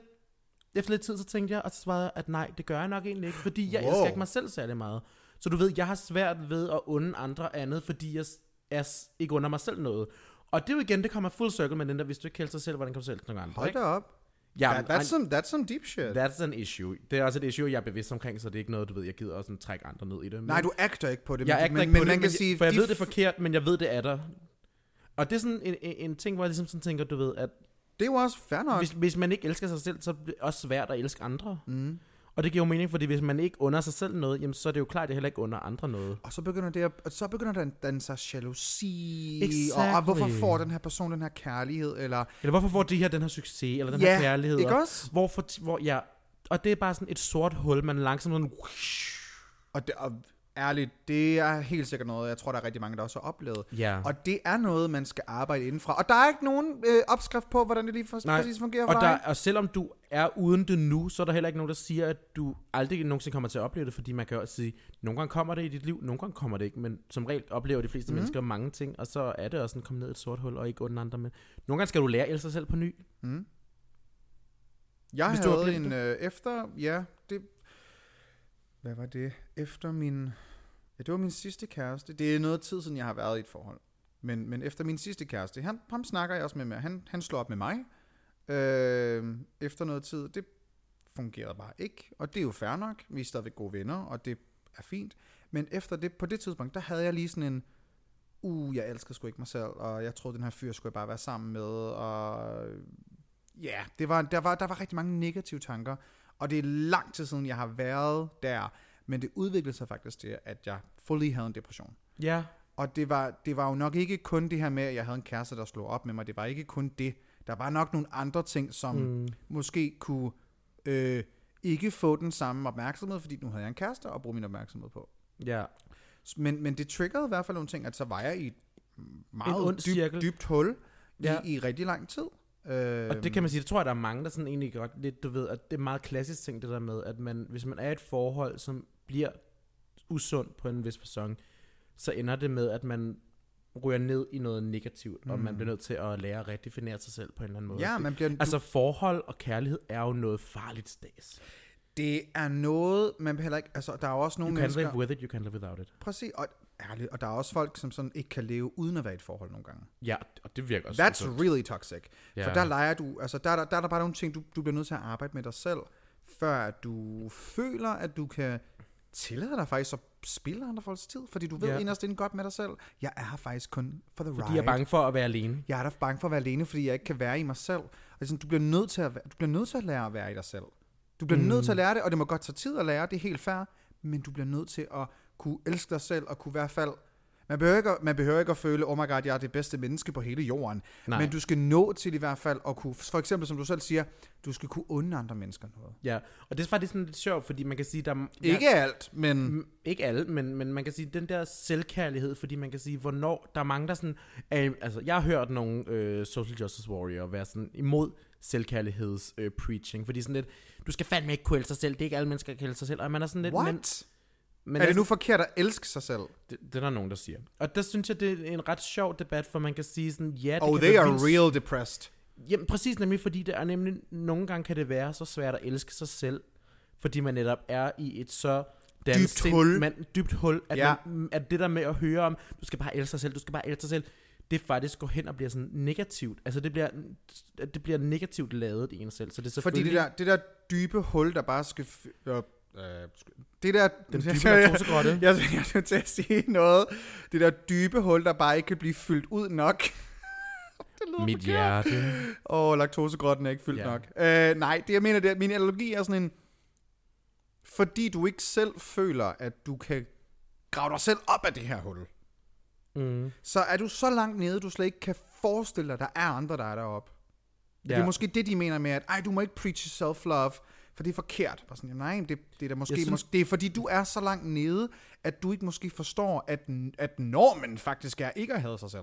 Speaker 1: efter lidt tid, så tænkte jeg, og så svarede jeg, at nej, det gør jeg nok egentlig ikke, fordi jeg wow.
Speaker 2: Wow.
Speaker 1: elsker ikke mig selv særlig meget. Så du ved, jeg har svært ved at unde andre andet, fordi jeg s- er s- ikke under mig selv noget. Og det er jo igen, det kommer full circle med den der, hvis du ikke kælder sig selv, hvordan kan du selv til nogle andre?
Speaker 2: Hold
Speaker 1: ikke?
Speaker 2: da op.
Speaker 1: Ja,
Speaker 2: That,
Speaker 1: men-
Speaker 2: that's, some, that's some deep shit. That,
Speaker 1: That's an issue. Det er også et issue, jeg er bevidst omkring, så det er ikke noget, du ved, jeg gider også sådan trække andre ned i det. Men
Speaker 2: nej, du acter ikke på det.
Speaker 1: jeg
Speaker 2: men,
Speaker 1: er ikke
Speaker 2: men,
Speaker 1: men,
Speaker 2: men
Speaker 1: på
Speaker 2: man
Speaker 1: det,
Speaker 2: kan
Speaker 1: men
Speaker 2: sige,
Speaker 1: sige, for jeg
Speaker 2: de
Speaker 1: ved det
Speaker 2: f-
Speaker 1: forkert, men jeg ved, det er der. Og det er sådan en, en, en ting, hvor jeg ligesom sådan tænker, du ved, at
Speaker 2: det er jo også fair nok.
Speaker 1: hvis, hvis man ikke elsker sig selv, så er det også svært at elske andre. Mm. Og det giver jo mening, fordi hvis man ikke under sig selv noget, jamen, så er det jo klart, at jeg heller ikke under andre noget.
Speaker 2: Og så begynder, det at, og så begynder der at danne sig jalousi, og, og
Speaker 1: Exactly.
Speaker 2: hvorfor får den her person den her kærlighed, eller
Speaker 1: Eller hvorfor får de her den her succes, eller den
Speaker 2: Ja,
Speaker 1: her kærlighed?
Speaker 2: ikke
Speaker 1: og
Speaker 2: også?
Speaker 1: Hvor, for, hvor, ja. Og det er bare sådan et sort hul, man langsomt sådan...
Speaker 2: Og, det, og ærligt, det er helt sikkert noget, jeg tror, der er rigtig mange, der også har oplevet.
Speaker 1: Ja.
Speaker 2: Og det er noget, man skal arbejde indenfra. Og der er ikke nogen øh, opskrift på, hvordan det lige for,
Speaker 1: Nej,
Speaker 2: præcis fungerer for
Speaker 1: og,
Speaker 2: dig.
Speaker 1: der, og selvom du er uden det nu, så er der heller ikke nogen, der siger, at du aldrig nogensinde kommer til at opleve det, fordi man kan jo også sige, nogle gange kommer det i dit liv, nogle gange kommer det ikke, men som regel oplever de
Speaker 2: Mhm.
Speaker 1: fleste mm. mennesker mange ting, og så er det også sådan, kom ned i et sort hul og ikke under andre med. Nogle gange skal du lære at elske dig selv på ny.
Speaker 2: Jeg
Speaker 1: hvis
Speaker 2: Hvis
Speaker 1: du har
Speaker 2: havde
Speaker 1: glemt
Speaker 2: en øh, efter... Ja, det... Hvad var det? Efter min... Ja, det var min sidste kæreste. Det er noget tid siden, jeg har været i et forhold. Men, men efter min sidste kæreste, han, ham snakker jeg også med, med. Han, han slår op med mig. Øh, efter noget tid, det fungerede bare ikke. Og det er jo fair nok. Vi er stadigvæk gode venner, og det er fint. Men efter det, på det tidspunkt, der havde jeg lige sådan en, uh, jeg elsker sgu ikke mig selv, og jeg troede, den her fyr skulle jeg bare være sammen med, og ja, yeah, det var, der, var, der var rigtig mange negative tanker, og det er lang tid siden, jeg har været der, men det udviklede sig faktisk til, at jeg fully havde en depression.
Speaker 1: Ja.
Speaker 2: Og det var, det var jo nok ikke kun det her med, at jeg havde en kæreste, der slog op med mig. Det var ikke kun det. Der var nok nogle andre ting, som mm. måske kunne øh, ikke få den samme opmærksomhed, fordi nu havde jeg en kæreste at bruge min opmærksomhed på.
Speaker 1: Ja.
Speaker 2: Men, men det triggerede i hvert fald nogle ting, at så var jeg i et
Speaker 1: En ond
Speaker 2: meget dyb,
Speaker 1: cirkel.
Speaker 2: dybt hul
Speaker 1: Ja.
Speaker 2: ja. i, i rigtig lang tid. Øh,
Speaker 1: Og det kan man sige, det tror jeg, der er mange, der sådan egentlig godt lidt, du ved, at det er meget klassisk ting, det der med, at man, hvis man er i et forhold, som bliver usundt på en vis fasong, så ender det med, at man ryger ned i noget negativt, mm. og man bliver nødt til at lære at redefinere sig selv på en eller anden måde.
Speaker 2: ja, man bliver,
Speaker 1: Altså forhold og kærlighed er jo noget farligt stads.
Speaker 2: det er noget, man heller ikke... Altså, der er jo også
Speaker 1: You
Speaker 2: nogle
Speaker 1: can live
Speaker 2: mennesker...
Speaker 1: with it, you can live without it.
Speaker 2: Præcis, og, ærligt, og der er også folk, som sådan ikke kan leve uden at være i et forhold nogle gange.
Speaker 1: Ja, og det virker også.
Speaker 2: That's really toxic.
Speaker 1: Ja.
Speaker 2: Yeah. For der leger du, altså der, er der, der er der bare nogle ting, du, du bliver nødt til at arbejde med dig selv, før at du føler, at du kan tillade dig faktisk at spille andre folks tid, fordi du ved
Speaker 1: Ja.
Speaker 2: yeah. inderst inden godt med dig selv, jeg er her faktisk kun for the
Speaker 1: De
Speaker 2: ride.
Speaker 1: er bange for at være alene.
Speaker 2: Jeg er da bange for at være alene, fordi jeg ikke kan være i mig selv. Altså, du, bliver nødt til at, væ- du bliver nødt til at lære at være i dig selv. Du bliver mm. nødt til at lære det, og det må godt tage tid at lære, det er helt fair, men du bliver nødt til at kunne elske dig selv, og kunne i hvert fald... Man behøver, ikke at, man behøver ikke at føle, oh my god, jeg er det bedste menneske på hele jorden.
Speaker 1: Nej.
Speaker 2: Nej. Men du skal nå til i hvert fald at kunne, for eksempel som du selv siger, du skal kunne unde andre mennesker noget.
Speaker 1: Ja, og det er faktisk sådan lidt sjovt, fordi man kan sige, der
Speaker 2: Ja. Ikke alt, men
Speaker 1: Mm, ikke alle, men, men man kan sige, den der selvkærlighed, fordi man kan sige, hvornår, der er mange, der sådan, øh, altså jeg har hørt nogle øh, social justice warrior være sådan imod selvkærligheds øh, preaching, fordi sådan lidt, du skal fandme ikke kunne elske sig selv, det er ikke alle mennesker, der kan elske sig selv, og man er sådan lidt,
Speaker 2: what?
Speaker 1: men, men
Speaker 2: er det
Speaker 1: altså-
Speaker 2: nu forkert at elske sig selv?
Speaker 1: det, det er der nogen, der siger. Og der synes jeg, det er en ret sjov debat, for man kan sige sådan, ja, det
Speaker 2: Oh,
Speaker 1: kan
Speaker 2: they
Speaker 1: være
Speaker 2: are
Speaker 1: vildt-
Speaker 2: real depressed.
Speaker 1: Jamen præcis nemlig, fordi det er nemlig, nogle gange kan det være så svært at elske sig selv, fordi man netop er i et så danset
Speaker 2: Dybt hul.
Speaker 1: Man, dybt hul, at, ja.
Speaker 2: Ja.
Speaker 1: man, mm, at det der med at høre om, du skal bare elske dig selv, du skal bare elske dig selv, det faktisk går hen og bliver sådan negativt. Altså det bliver, at det bliver negativt lavet i en selv. Så det er
Speaker 2: Fordi
Speaker 1: selvfølgelig...
Speaker 2: det der, det der dybe hul, der bare skal... f- Øh, øh, det der... Den
Speaker 1: dybe laktosegrotte.
Speaker 2: Jeg, jeg, jeg, jeg er til at sige noget. Det der dybe hul, der bare ikke kan blive fyldt ud nok. Oh
Speaker 1: mit hjerte.
Speaker 2: Og laktosegrotten er ikke fyldt
Speaker 1: Ja.
Speaker 2: ja. nok. Øh, nej, det jeg mener, det er, min analogi er sådan en... Fordi du ikke selv føler, at du kan grave dig selv op af det her hul,
Speaker 1: Mm.
Speaker 2: så er du så langt nede, du slet ikke kan forestille dig, at der er andre, der er deroppe. Ja. Det er måske det, de mener med, at Ej, du må ikke preach self-love, for det er forkert. Bare sådan, jamen, nej, det, det er da måske,
Speaker 1: Jeg synes-
Speaker 2: synes... måske, det er fordi du er så langt nede, at du ikke måske forstår, at, at normen faktisk er ikke at have sig selv.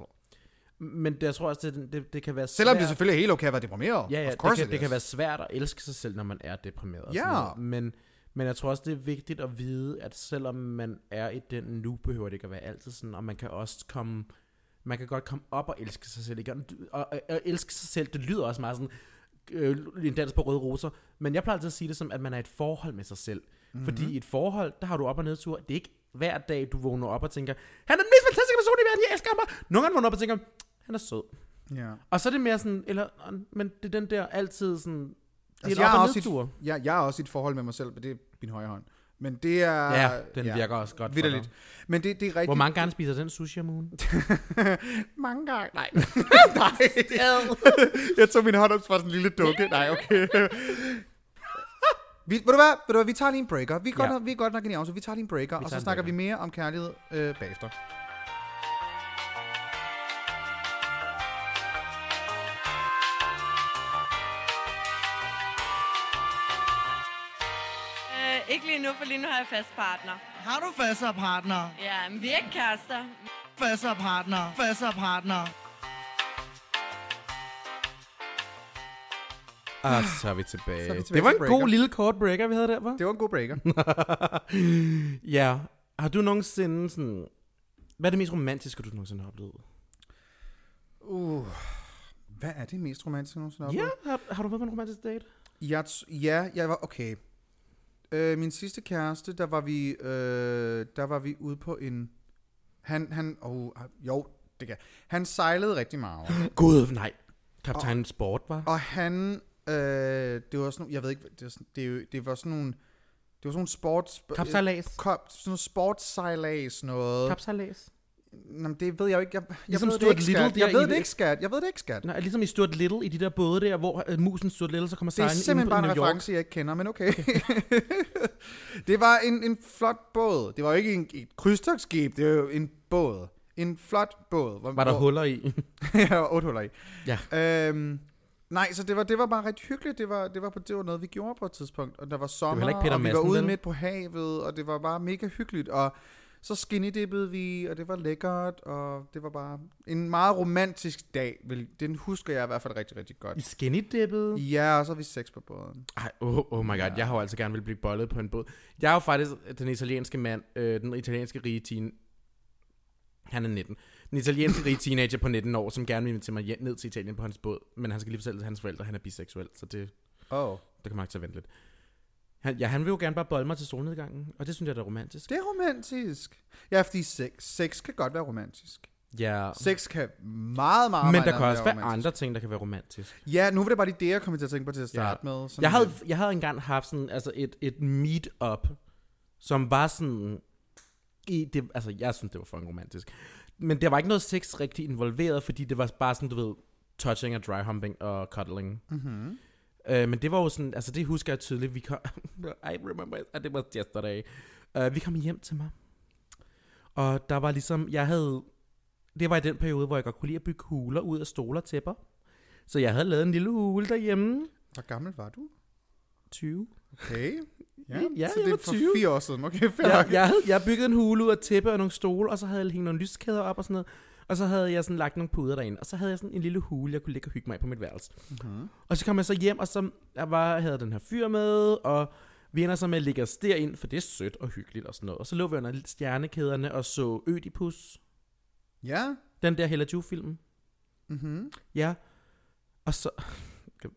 Speaker 1: Men det, jeg tror også, det, det, det kan være
Speaker 2: Selvom
Speaker 1: svært.
Speaker 2: det selvfølgelig er helt okay at være deprimeret.
Speaker 1: Ja, ja
Speaker 2: of
Speaker 1: det,
Speaker 2: course
Speaker 1: kan,
Speaker 2: it
Speaker 1: det kan
Speaker 2: is.
Speaker 1: være svært at elske sig selv, når man er deprimeret. og
Speaker 2: Ja.
Speaker 1: sådan noget. Men, men jeg tror også, det er vigtigt at vide, at selvom man er i den nu, behøver det ikke at være altid sådan, og man kan også komme... Man kan godt komme op og elske sig selv igen. Og, og, og elske sig selv, det lyder også meget sådan øh, en dans på røde roser. Men jeg plejer altid at sige det som, at man er i et forhold med sig selv.
Speaker 2: Mhm.
Speaker 1: Mm-hmm. Fordi i et forhold, der har du op- og nedtur. Det er ikke hver dag, du vågner op og tænker, han er den mest fantastiske person i verden, jeg elsker ham bare. Nogle gange vågner op og tænker, han er sød.
Speaker 2: Ja. Altså,
Speaker 1: Og så er det mere sådan, eller, men det er den der altid sådan, det er
Speaker 2: Altså,
Speaker 1: en
Speaker 2: jeg,
Speaker 1: op-
Speaker 2: er
Speaker 1: og
Speaker 2: også i
Speaker 1: nedtur.
Speaker 2: et, jeg, jeg er også i et forhold med mig selv, men det er min højre hånd. Men det er...
Speaker 1: Ja, den virker også godt for
Speaker 2: Vitterligt.
Speaker 1: dig.
Speaker 2: Men det, det er rigtigt.
Speaker 1: Hvor mange gange spiser den sushi om ugen?
Speaker 2: mange gange? Nej. Nej. jeg tog min hånd op fra sådan en lille dukke. Nej, okay. Vi, ved, du hvad, ved du hvad, vi tager lige en breaker. Vi er godt,
Speaker 1: Ja.
Speaker 2: ja. nok, vi er godt nok i en så vi tager lige en breaker, og
Speaker 1: tager
Speaker 2: så
Speaker 1: en
Speaker 2: snakker
Speaker 1: breaker.
Speaker 2: vi mere om kærlighed øh, bagefter.
Speaker 4: Øh, ikke lige nu, for lige nu har jeg fast partner.
Speaker 5: Har du fast partner?
Speaker 4: Ja, men vi er ikke kærester.
Speaker 5: Fast partner? Fast partner?
Speaker 1: Og Ah, så er vi tilbage.
Speaker 2: Så er vi tilbage
Speaker 1: det var en
Speaker 2: til breaker.
Speaker 1: god lille kort breaker, vi havde der, var.
Speaker 2: Det var en god breaker.
Speaker 1: Ja. Har du nogensinde sådan... Hvad er det mest romantiske, du nogensinde har oplevet?
Speaker 2: Uh. Hvad er det mest romantiske jeg nogensinde har oplevet?
Speaker 1: Ja, har, har du været på en romantisk date?
Speaker 2: Jeg t- ja, jeg var okay. Øh, min sidste kæreste, der var vi, øh, der var vi ude på en... Han, han, oh, jo, det kan Han sejlede rigtig meget.
Speaker 1: Gud, nej. Kaptajn Sport, var.
Speaker 2: Og han, øh, det var sådan, nogle- jeg ved ikke, det var sådan, det, er jo- det var sådan nogle, det var sådan nogle sports...
Speaker 1: Kapsalas.
Speaker 2: øh, Kap, sådan noget sportssejlads noget. Kap.
Speaker 1: Kapsalas.
Speaker 2: Jamen, det ved jeg jo ikke. Jeg, jeg
Speaker 1: Ligesom
Speaker 2: ved det
Speaker 1: Stuart
Speaker 2: ikke,
Speaker 1: Little
Speaker 2: skat.
Speaker 1: der
Speaker 2: Jeg
Speaker 1: i-
Speaker 2: ved det ikke, skat. Jeg ved det ikke, skat.
Speaker 1: Nej, ligesom i Stuart Little, i de der både der, hvor øh, musen Stuart Little, så kommer
Speaker 2: Det er
Speaker 1: sejlen ind
Speaker 2: simpelthen
Speaker 1: på
Speaker 2: bare en
Speaker 1: New York.
Speaker 2: reference, jeg ikke kender, men okay. det var en, en flot båd. Det var jo ikke en, et krydstogsskib, det var jo en båd. En flot båd. Hvor,
Speaker 1: Var der
Speaker 2: hvor-
Speaker 1: huller i?
Speaker 2: ja, otte huller i.
Speaker 1: Ja.
Speaker 2: Øhm, nej, så det var, det var bare rigtig hyggeligt. Det var, det, var, på- det var noget, vi gjorde på et tidspunkt. Og der var sommer,
Speaker 1: heller ikke Peter
Speaker 2: og vi var
Speaker 1: Madsen,
Speaker 2: ude
Speaker 1: vel?
Speaker 2: midt på havet, og det var bare mega hyggeligt. Og så skinnydippede vi, og det var lækkert, og det var bare en meget romantisk dag. vel. Den husker jeg i hvert fald rigtig, rigtig godt.
Speaker 1: I skinny-dippet?
Speaker 2: Ja, og så har vi sex på båden.
Speaker 1: Ej, oh, oh my god, jeg har jo altså gerne vil blive bollet på en båd. Jeg er jo faktisk den italienske mand, øh, den italienske rige teen... Han er 19. Den italienske rige teenager på 19 år, som gerne vil invitere mig hjem- ned til Italien på hans båd. Men han skal lige fortælle til hans forældre, at han er biseksuel, så det,
Speaker 2: Åh. Oh.
Speaker 1: det kan man ikke tage vente lidt. Han, ja, han vil jo gerne bare bolle mig til solnedgangen, og det synes jeg da er romantisk.
Speaker 2: Det er romantisk. Ja, fordi sex, sex kan godt være romantisk.
Speaker 1: Ja,
Speaker 2: Sex kan meget, meget
Speaker 1: men
Speaker 2: meget
Speaker 1: der kan
Speaker 2: andet
Speaker 1: også være
Speaker 2: romantisk.
Speaker 1: andre ting, der kan være romantisk.
Speaker 2: Ja, nu var det bare lige det, jeg kom til at tænke på til at starte
Speaker 1: Ja.
Speaker 2: med. Sådan
Speaker 1: Jeg havde,
Speaker 2: lidt.
Speaker 1: jeg havde engang haft sådan, altså et, et meet-up, som var sådan... I, det, altså, jeg synes, det var fucking romantisk. Men der var ikke noget sex rigtig involveret, fordi det var bare sådan, du ved, touching og dry humping og cuddling. Mm-hmm. Øh, men det var jo sådan, altså det husker jeg tydeligt. Vi kom, I remember, at det var yesterday. Uh, vi kom hjem til mig. Og der var ligesom, jeg havde, det var i den periode, hvor jeg godt kunne lide at bygge huler ud af stoler og tæpper. Så jeg havde lavet en lille hule derhjemme.
Speaker 2: Hvor gammel var du?
Speaker 1: 20.
Speaker 2: Okay. Ja,
Speaker 1: Ja,
Speaker 2: så
Speaker 1: jeg
Speaker 2: det er
Speaker 1: var
Speaker 2: for
Speaker 1: 20.
Speaker 2: fire år siden. Okay, fair.
Speaker 1: jeg,
Speaker 2: nok.
Speaker 1: jeg, havde, jeg byggede en hule ud af tæppe og nogle stole, og så havde jeg hængt nogle lyskæder op og sådan noget. Og så havde jeg sådan lagt nogle puder derind, og så havde jeg sådan en lille hule, jeg kunne ligge og hygge mig i på mit værelse. Mm-hmm. Og så kom jeg så hjem, og så jeg var, havde jeg den her fyr med, og vi ender så med at ligge os derind, for det er sødt og hyggeligt og sådan noget. Og så lå vi under stjernekæderne og så Ødipus,
Speaker 2: Ja.
Speaker 1: den der Hella Ju-film.
Speaker 2: Mm-hmm.
Speaker 1: Ja. Og så...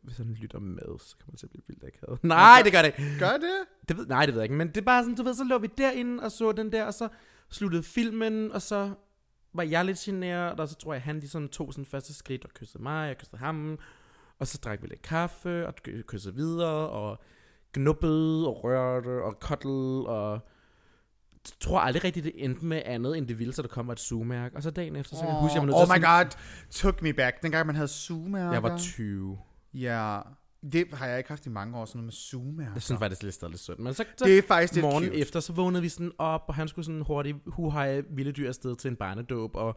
Speaker 1: Hvis han lytter med, så kommer jeg til at blive vildt akavet. Nej, det gør det ikke.
Speaker 2: Gør det?
Speaker 1: Det ved, nej, det ved jeg ikke, men det er bare sådan, du ved, så lå vi derinde og så den der, og så sluttede filmen, og så var jeg lidt generet, og så tror jeg, han ligesom tog sin første skridt og kyssede mig, jeg kyssede ham, og så drak vi lidt kaffe, og ky- kyssede videre, og gnuppede, og rørte, og kottel, og jeg tror aldrig rigtigt, det endte med andet, end det ville, så der kom et sugemærke. Og så dagen efter, så kan jeg huske, jeg var nødt
Speaker 2: oh
Speaker 1: til at
Speaker 2: my
Speaker 1: sådan-
Speaker 2: god, Oh took me back. Dengang man havde sugemærker.
Speaker 1: Jeg var 20.
Speaker 2: Ja, det har jeg ikke haft i mange år, sådan noget med sugemærker.
Speaker 1: Jeg synes faktisk, det er lidt stadig lidt sødt. Men så, så
Speaker 2: Det er faktisk lidt
Speaker 1: morgenen
Speaker 2: cute.
Speaker 1: efter, så vågnede vi sådan op, og han skulle sådan hurtigt huhaje vilde dyr afsted til en barnedåb, og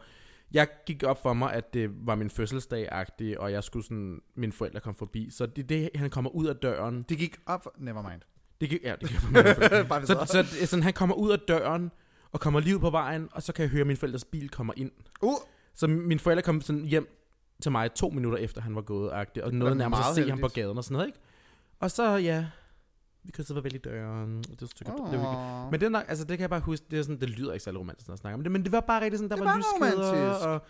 Speaker 1: jeg gik op for mig, at det var min fødselsdag-agtig, og jeg skulle sådan, mine forældre kom forbi. Så det, det han kommer ud af døren,
Speaker 2: Det gik op... Never mind.
Speaker 1: det gik, ja, det gik op for mig.
Speaker 2: Bare
Speaker 1: så, så det er sådan, han kommer ud af døren, og kommer lige ud på vejen, og så kan jeg høre, at min forældres bil kommer ind.
Speaker 2: Uh,
Speaker 1: Så mine forældre kom sådan hjem til mig to minutter efter, han var gået, agtig, og nåede
Speaker 2: da
Speaker 1: nærmest at se
Speaker 2: meget
Speaker 1: heldigt. ham på
Speaker 2: heldigt.
Speaker 1: gaden og sådan noget, ikke? Og så, ja, vi krydsede farvel i døren. og Det var, det var, det var,
Speaker 2: Åh.
Speaker 1: men det, er nok, altså, det kan jeg bare huske, det, er sådan, det lyder ikke særlig romantisk, når jeg snakker om det, men det var bare rigtig sådan, der
Speaker 2: Det
Speaker 1: det
Speaker 2: var
Speaker 1: var, lyskæder,
Speaker 2: romantisk.
Speaker 1: og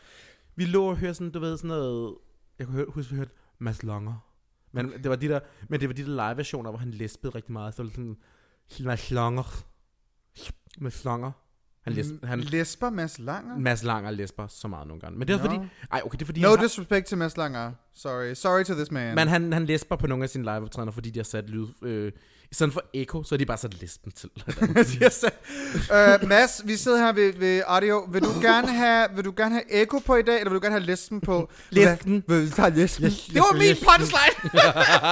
Speaker 1: vi lå og hørte sådan, du ved, sådan noget, jeg kunne høre, huske, vi hørte Mads Langer. Men det var de der, men det var de der live versioner, hvor han lesbede rigtig meget, så var det sådan, Mads Langer, Mads Langer. Han, les, han
Speaker 2: Lesber Mads Langer?
Speaker 1: Mads Langer lesber så meget nogle gange. Men det er også
Speaker 2: Nå.
Speaker 1: fordi... Ej, okay, det er fordi...
Speaker 2: No
Speaker 1: han, har-
Speaker 2: disrespect til Mads Langer. Sorry. Sorry to this man.
Speaker 1: men han, han lesber på nogle af sine liveoptrædener, fordi de har sat lyd... Øh, I stedet for echo, så har de bare sat lesben til.
Speaker 2: yes. uh, Mads, vi sidder her ved, ved audio. Vil du gerne have, vil du gerne have echo på i dag, eller vil du gerne have lesben på?
Speaker 1: Lesben.
Speaker 2: Vil vi tage lesben?
Speaker 1: Yes,
Speaker 2: det var
Speaker 1: lesben,
Speaker 2: min
Speaker 1: lesben.
Speaker 2: punchline.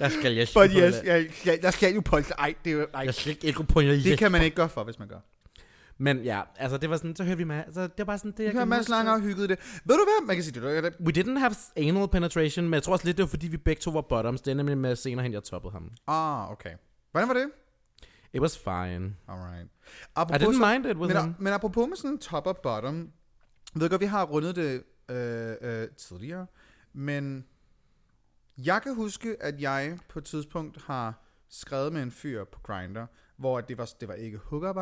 Speaker 1: jeg skal lesben
Speaker 2: But
Speaker 1: på
Speaker 2: yes,
Speaker 1: det.
Speaker 2: jeg, jeg, jeg skal jo punchline. Ej, det, er jo- ej,
Speaker 1: Jeg skal ikke echo på jer.
Speaker 2: det kan man ikke gøre for, hvis man gør.
Speaker 1: Men ja, altså det var sådan... Så hører vi med... Altså, det var bare sådan det, jeg
Speaker 2: Det har
Speaker 1: kan
Speaker 2: Mads
Speaker 1: huske.
Speaker 2: Langer og hygget det. Ved du hvad? Man kan sige, det, det, det,
Speaker 1: We didn't have anal penetration, men jeg tror også lidt, det var fordi, vi begge to var bottoms. Det er nemlig med senere hen, jeg toppede ham.
Speaker 2: Ah, okay. Hvordan var det?
Speaker 1: It was fine.
Speaker 2: Alright.
Speaker 1: I
Speaker 2: Apropos,
Speaker 1: didn't
Speaker 2: så-
Speaker 1: mind it with
Speaker 2: men,
Speaker 1: him.
Speaker 2: men apropos med sådan top og bottom, jeg ved godt, vi har rundet det øh, øh, tidligere, men jeg kan huske, at jeg på et tidspunkt har skrevet med en fyr på Grindr, hvor det var, det var ikke hookup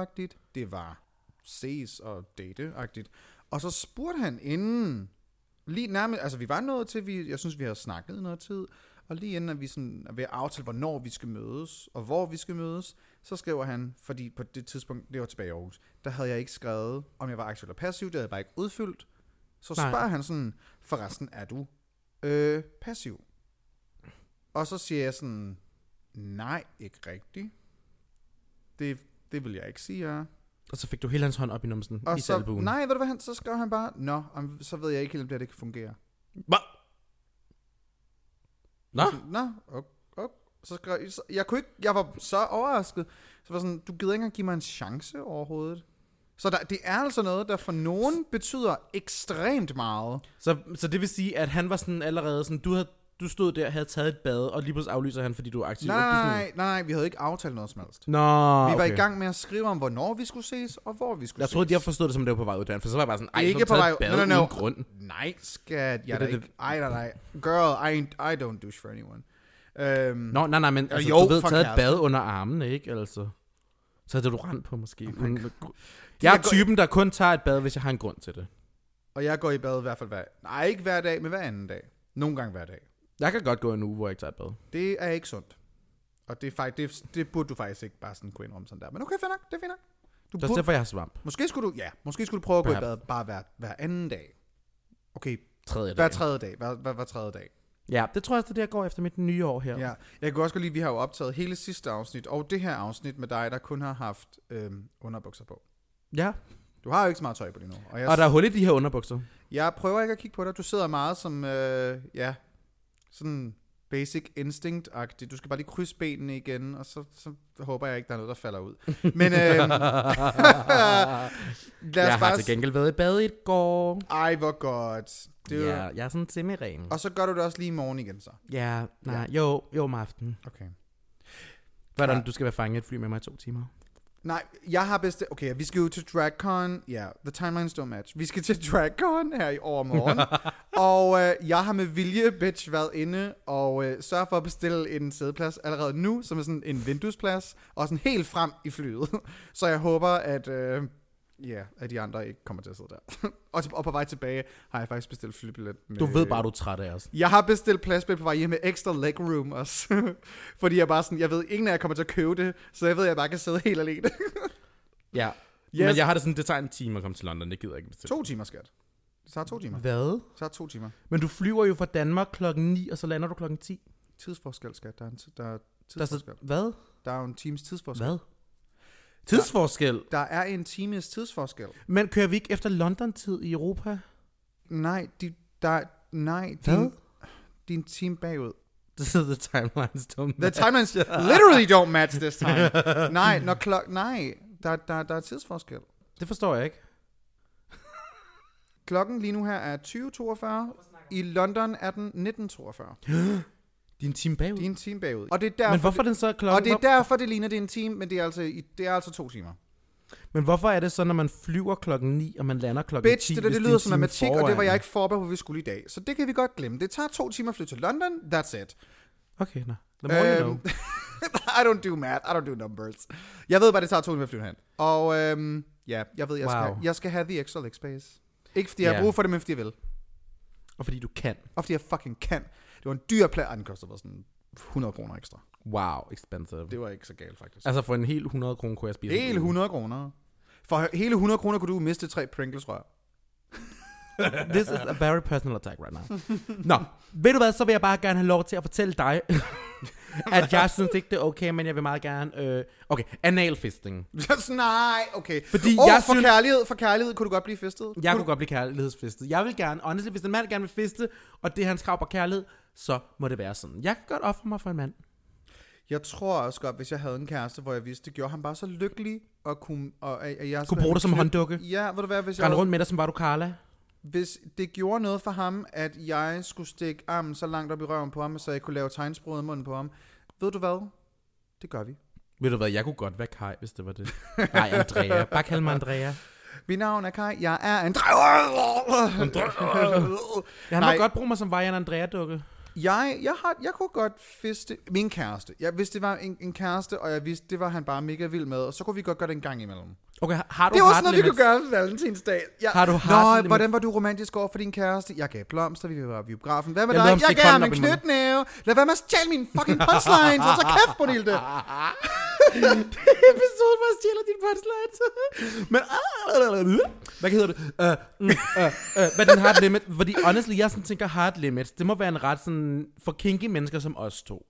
Speaker 2: det var ses og date-agtigt. Og så spurgte han inden, lige nærmest, altså vi var nået til, vi, jeg synes, vi har snakket i noget tid, og lige inden at vi sådan, er ved at aftale, hvornår vi skal mødes, og hvor vi skal mødes, så skriver han, fordi på det tidspunkt, det var tilbage i Aarhus, der havde jeg ikke skrevet, om jeg var aktiv eller passiv, det havde jeg bare ikke udfyldt. Så
Speaker 1: Nej.
Speaker 2: spørger han sådan, forresten er du øh, passiv? Og så siger jeg sådan, nej, ikke rigtigt. Det, det vil jeg ikke sige, jeg er."
Speaker 1: Og så fik du hele hans hånd op i numsen.
Speaker 2: Og
Speaker 1: I
Speaker 2: så,
Speaker 1: albuen.
Speaker 2: nej, ved du hvad, han, så skrev han bare, nå, om- så ved jeg ikke helt, om det her det kan fungere.
Speaker 1: Hva? Nå?
Speaker 2: Nå, ok, ok. Så skrev, så, jeg, kunne ikke, jeg var så overrasket. Så var sådan, du gider ikke engang give mig en chance overhovedet. Så der, det er altså noget, der for nogen betyder ekstremt meget.
Speaker 1: Så, så det vil sige, at han var sådan allerede sådan, du, havde, du stod der, havde taget et bad, og lige pludselig aflyser han, fordi du er aktiv.
Speaker 2: Nej,
Speaker 1: Og du er sådan-
Speaker 2: nej, nej, vi havde ikke aftalt noget som helst.
Speaker 1: Nå,
Speaker 2: Vi
Speaker 1: okay.
Speaker 2: var i gang med at skrive om, hvornår vi skulle ses, og hvor vi skulle
Speaker 1: Jeg
Speaker 2: ses.
Speaker 1: troede, jeg forstod det som, det var på vej ud af døren, for så var jeg bare sådan, ej,
Speaker 2: Ikke
Speaker 1: ikke
Speaker 2: på
Speaker 1: på
Speaker 2: vej
Speaker 1: taget
Speaker 2: ud-
Speaker 1: et
Speaker 2: No,
Speaker 1: bad
Speaker 2: no, no.
Speaker 1: uden grund.
Speaker 2: Nej, skat, jeg er da
Speaker 1: det-
Speaker 2: ikke... Ej, nej, nej. Girl, I, ain't- I don't douche for anyone. Øhm,
Speaker 1: Nå, nej, nej, men altså,
Speaker 2: jo,
Speaker 1: du ved,
Speaker 2: for
Speaker 1: taget et
Speaker 2: kæresten.
Speaker 1: bad under armen, ikke? Altså, så havde du rent på, måske. Oh
Speaker 2: Jeg
Speaker 1: jeg
Speaker 2: går-
Speaker 1: er typen, der kun tager et bad, hvis jeg har en grund til det.
Speaker 2: Og jeg går i bad i hvert fald hver... Nej, ikke hver dag, men hver anden dag. Nogle gange hver dag.
Speaker 1: Jeg kan godt gå en uge, hvor jeg ikke tager et bad.
Speaker 2: Det er ikke sundt. Og det, er faktisk, det, det burde du faktisk ikke bare sådan kunne indrømme sådan der. Men okay, fair nok, det er fint nok. Du
Speaker 1: Det er også
Speaker 2: burde,
Speaker 1: derfor, jeg har svamp.
Speaker 2: måske skulle du, ja, måske skulle du prøve at gå i
Speaker 1: Perhaps.
Speaker 2: bad bare hver, hver anden dag. Okay,
Speaker 1: Tredje
Speaker 2: hver
Speaker 1: dag.
Speaker 2: tredje dag, hver, hver, hver tredje dag.
Speaker 1: Ja, det tror jeg også, det er det, jeg går efter mit nye år her.
Speaker 2: Ja, jeg kunne også godt lide, at vi har jo optaget hele sidste afsnit, og det her afsnit med dig, der kun har haft øhm, underbukser på.
Speaker 1: ja.
Speaker 2: Du har jo ikke så meget tøj på lige nu. Og jeg,
Speaker 1: Og der er hul i de her underbukser.
Speaker 2: jeg prøver ikke at kigge på dig. Du sidder meget som, øh, ja, sådan basic instinct-agtig. Du skal bare lige krydse benene igen, og så, så håber jeg ikke, der er noget, der falder ud. Men øh, lad
Speaker 1: Jeg
Speaker 2: os
Speaker 1: har
Speaker 2: bare...
Speaker 1: til gengæld været i bad i går.
Speaker 2: Ej, hvor godt. Det er
Speaker 1: Ja,
Speaker 2: jo...
Speaker 1: jeg er sådan semi-ren.
Speaker 2: Og så gør du det også lige i morgen igen, så.
Speaker 1: Ja, nej, jo, jo om aftenen.
Speaker 2: Okay.
Speaker 1: Hvordan
Speaker 2: Ja.
Speaker 1: ja. du skal være fanget i et fly med mig i to timer.
Speaker 2: Nej, jeg har bestemt... Okay, vi skal jo til DragCon. Ja, yeah, the timelines don't match. Vi skal til DragCon her i overmorgen. og øh, jeg har med vilje, bitch, været inde og øh, sørget for at bestille en sædeplads allerede nu, som er sådan en vinduesplads, og sådan helt frem i flyet. Så jeg håber, at... Øh, Ja, at de andre ikke kommer til at sidde der. og, til, og på vej tilbage har jeg faktisk bestilt flybillet. Med,
Speaker 1: Du ved bare, du er træt af os.
Speaker 2: Jeg har bestilt pladsbil på vej hjem med ekstra legroom også. Fordi jeg bare sådan, jeg ved, ingen af jer kommer til at købe det, så jeg ved, at jeg bare kan sidde helt alene.
Speaker 1: Ja.
Speaker 2: Yes.
Speaker 1: Yes. Men jeg har det sådan, det tager en time at komme til London, det gider jeg ikke bestille.
Speaker 2: To timer, skat. Det tager to timer. Det
Speaker 1: Hvad?
Speaker 2: tager to timer.
Speaker 1: Men du flyver jo fra Danmark klokken 9, og så lander du klokken 10.
Speaker 2: Tidsforskel, skat. Der er en, ti- der er
Speaker 1: Der er så,
Speaker 2: tidsforskel.
Speaker 1: hvad?
Speaker 2: Der er jo en times tidsforskel.
Speaker 1: Hvad? Tidsforskel.
Speaker 2: Der er en times tidsforskel.
Speaker 1: Men kører vi ikke efter London-tid i Europa?
Speaker 2: Nej, de, der, nej,
Speaker 1: Hvad?
Speaker 2: din, din time bagud.
Speaker 1: Det sidder the timelines don't
Speaker 2: The timelines literally don't match this time. nej, når klok, nej, der, der, der er tidsforskel.
Speaker 1: Det forstår jeg ikke.
Speaker 2: Klokken lige nu her er 20.42. I London er den 19.42.
Speaker 1: Det er en time bagud.
Speaker 2: De er en time bagud. Og det er derfor,
Speaker 1: Men hvorfor er
Speaker 2: det,
Speaker 1: den så klokken?
Speaker 2: og det er
Speaker 1: op?
Speaker 2: derfor, det ligner, det er en time, men det er altså, i- det er altså to timer.
Speaker 1: Men hvorfor er det så, når man flyver klokken 9, og man lander klokken
Speaker 2: Bitch,
Speaker 1: 10?
Speaker 2: det der,
Speaker 1: hvis
Speaker 2: det
Speaker 1: er
Speaker 2: lyder
Speaker 1: en
Speaker 2: som
Speaker 1: time
Speaker 2: matematik, og det var
Speaker 1: foran?
Speaker 2: jeg ikke forberedt på, hvor vi skulle i dag. Så det kan vi godt glemme. Det tager to timer at flytte til London. That's it.
Speaker 1: Okay, nå. The more Oh, you
Speaker 2: Øhm,
Speaker 1: know.
Speaker 2: I don't do math. I don't do numbers. Jeg ved bare, det tager to timer at flyve hen. Og øhm, ja, jeg ved, jeg, wow.
Speaker 1: Wow.
Speaker 2: skal, jeg skal have the extra leg space. Ikke fordi jeg
Speaker 1: Ja.
Speaker 2: har brug for det, men fordi jeg vil.
Speaker 1: Og fordi du kan.
Speaker 2: Og fordi jeg fucking kan. Det var en dyr plan, og den kostede bare sådan 100 kroner ekstra.
Speaker 1: Wow, expensive.
Speaker 2: Det var ikke så galt, faktisk.
Speaker 1: Altså for en hel 100 kroner kunne jeg spise. en
Speaker 2: Hele
Speaker 1: øl.
Speaker 2: 100 kroner. For hele 100 kroner kunne du miste tre Pringles rør.
Speaker 1: This is a very personal attack right now. Nå, ved du hvad, så vil jeg bare gerne have lov til at fortælle dig, at jeg synes ikke, det er okay, men jeg vil meget gerne... Øh, okay, analfisting.
Speaker 2: Just, nej, okay.
Speaker 1: Fordi
Speaker 2: oh,
Speaker 1: jeg
Speaker 2: for
Speaker 1: synes-
Speaker 2: kærlighed, for kærlighed kunne du godt blive fistet.
Speaker 1: Jeg kunne godt blive kærlighedsfistet. Jeg vil gerne, honestly, hvis en mand gerne vil fiste, og det er hans krav på kærlighed, så må det være sådan. Jeg kan godt ofre mig for en mand.
Speaker 2: Jeg tror også godt, hvis jeg havde en kæreste, hvor jeg vidste, det gjorde ham bare så lykkelig, og kunne, og, at- at jeg
Speaker 1: Kunne bruge dig som
Speaker 2: knyt-
Speaker 1: hånddukke.
Speaker 2: Ja, ved du hvad, hvis, jeg,
Speaker 1: Rende rundt med dig, som var du Carla.
Speaker 2: hvis det gjorde noget for ham, at jeg skulle stikke armen så langt op i røven på ham, så jeg kunne lave tegnsproget i munden på ham. Ved du hvad? Det gør vi.
Speaker 1: Ved du hvad, jeg kunne godt være Kai, hvis det var det. Nej, Andrea. Bare kald mig Andrea.
Speaker 2: Mit navn er Kai, jeg er en
Speaker 1: Jeg
Speaker 2: Nej.
Speaker 1: må godt bruge mig som Vajan Andrea-dukke.
Speaker 2: Jeg, jeg, har, jeg kunne godt fiste min kæreste. Jeg, hvis det var en, en kæreste, og jeg vidste, det var han bare mega vild med, og så kunne vi godt gøre det en gang imellem.
Speaker 1: Okay, har- har du
Speaker 2: Det var
Speaker 1: hard
Speaker 2: sådan noget, vi
Speaker 1: limits?
Speaker 2: kunne gøre ved valentinsdag. Jeg,
Speaker 1: Har du hard
Speaker 2: Nå,
Speaker 1: limits?
Speaker 2: hvordan var du romantisk over for din kæreste? Jeg gav blomster, vi var i biografen. Hvad med
Speaker 1: Jeg lod
Speaker 2: jeg
Speaker 1: ham
Speaker 2: dig? Jeg
Speaker 1: stikke
Speaker 2: gav ham
Speaker 1: hånden op
Speaker 2: en
Speaker 1: i munden.
Speaker 2: knytnæve. Lad være med at stjæle mine fucking punchlines. Og så kæft, Bonilde.
Speaker 1: episode, hvor jeg stjæler din punchline. Men, ah, hvad hedder det? Uh, mm, uh, uh, hvad er den hard limit? Fordi honestly, jeg sådan tænker hard limits, det må være en ret sådan, for kinky mennesker som os to.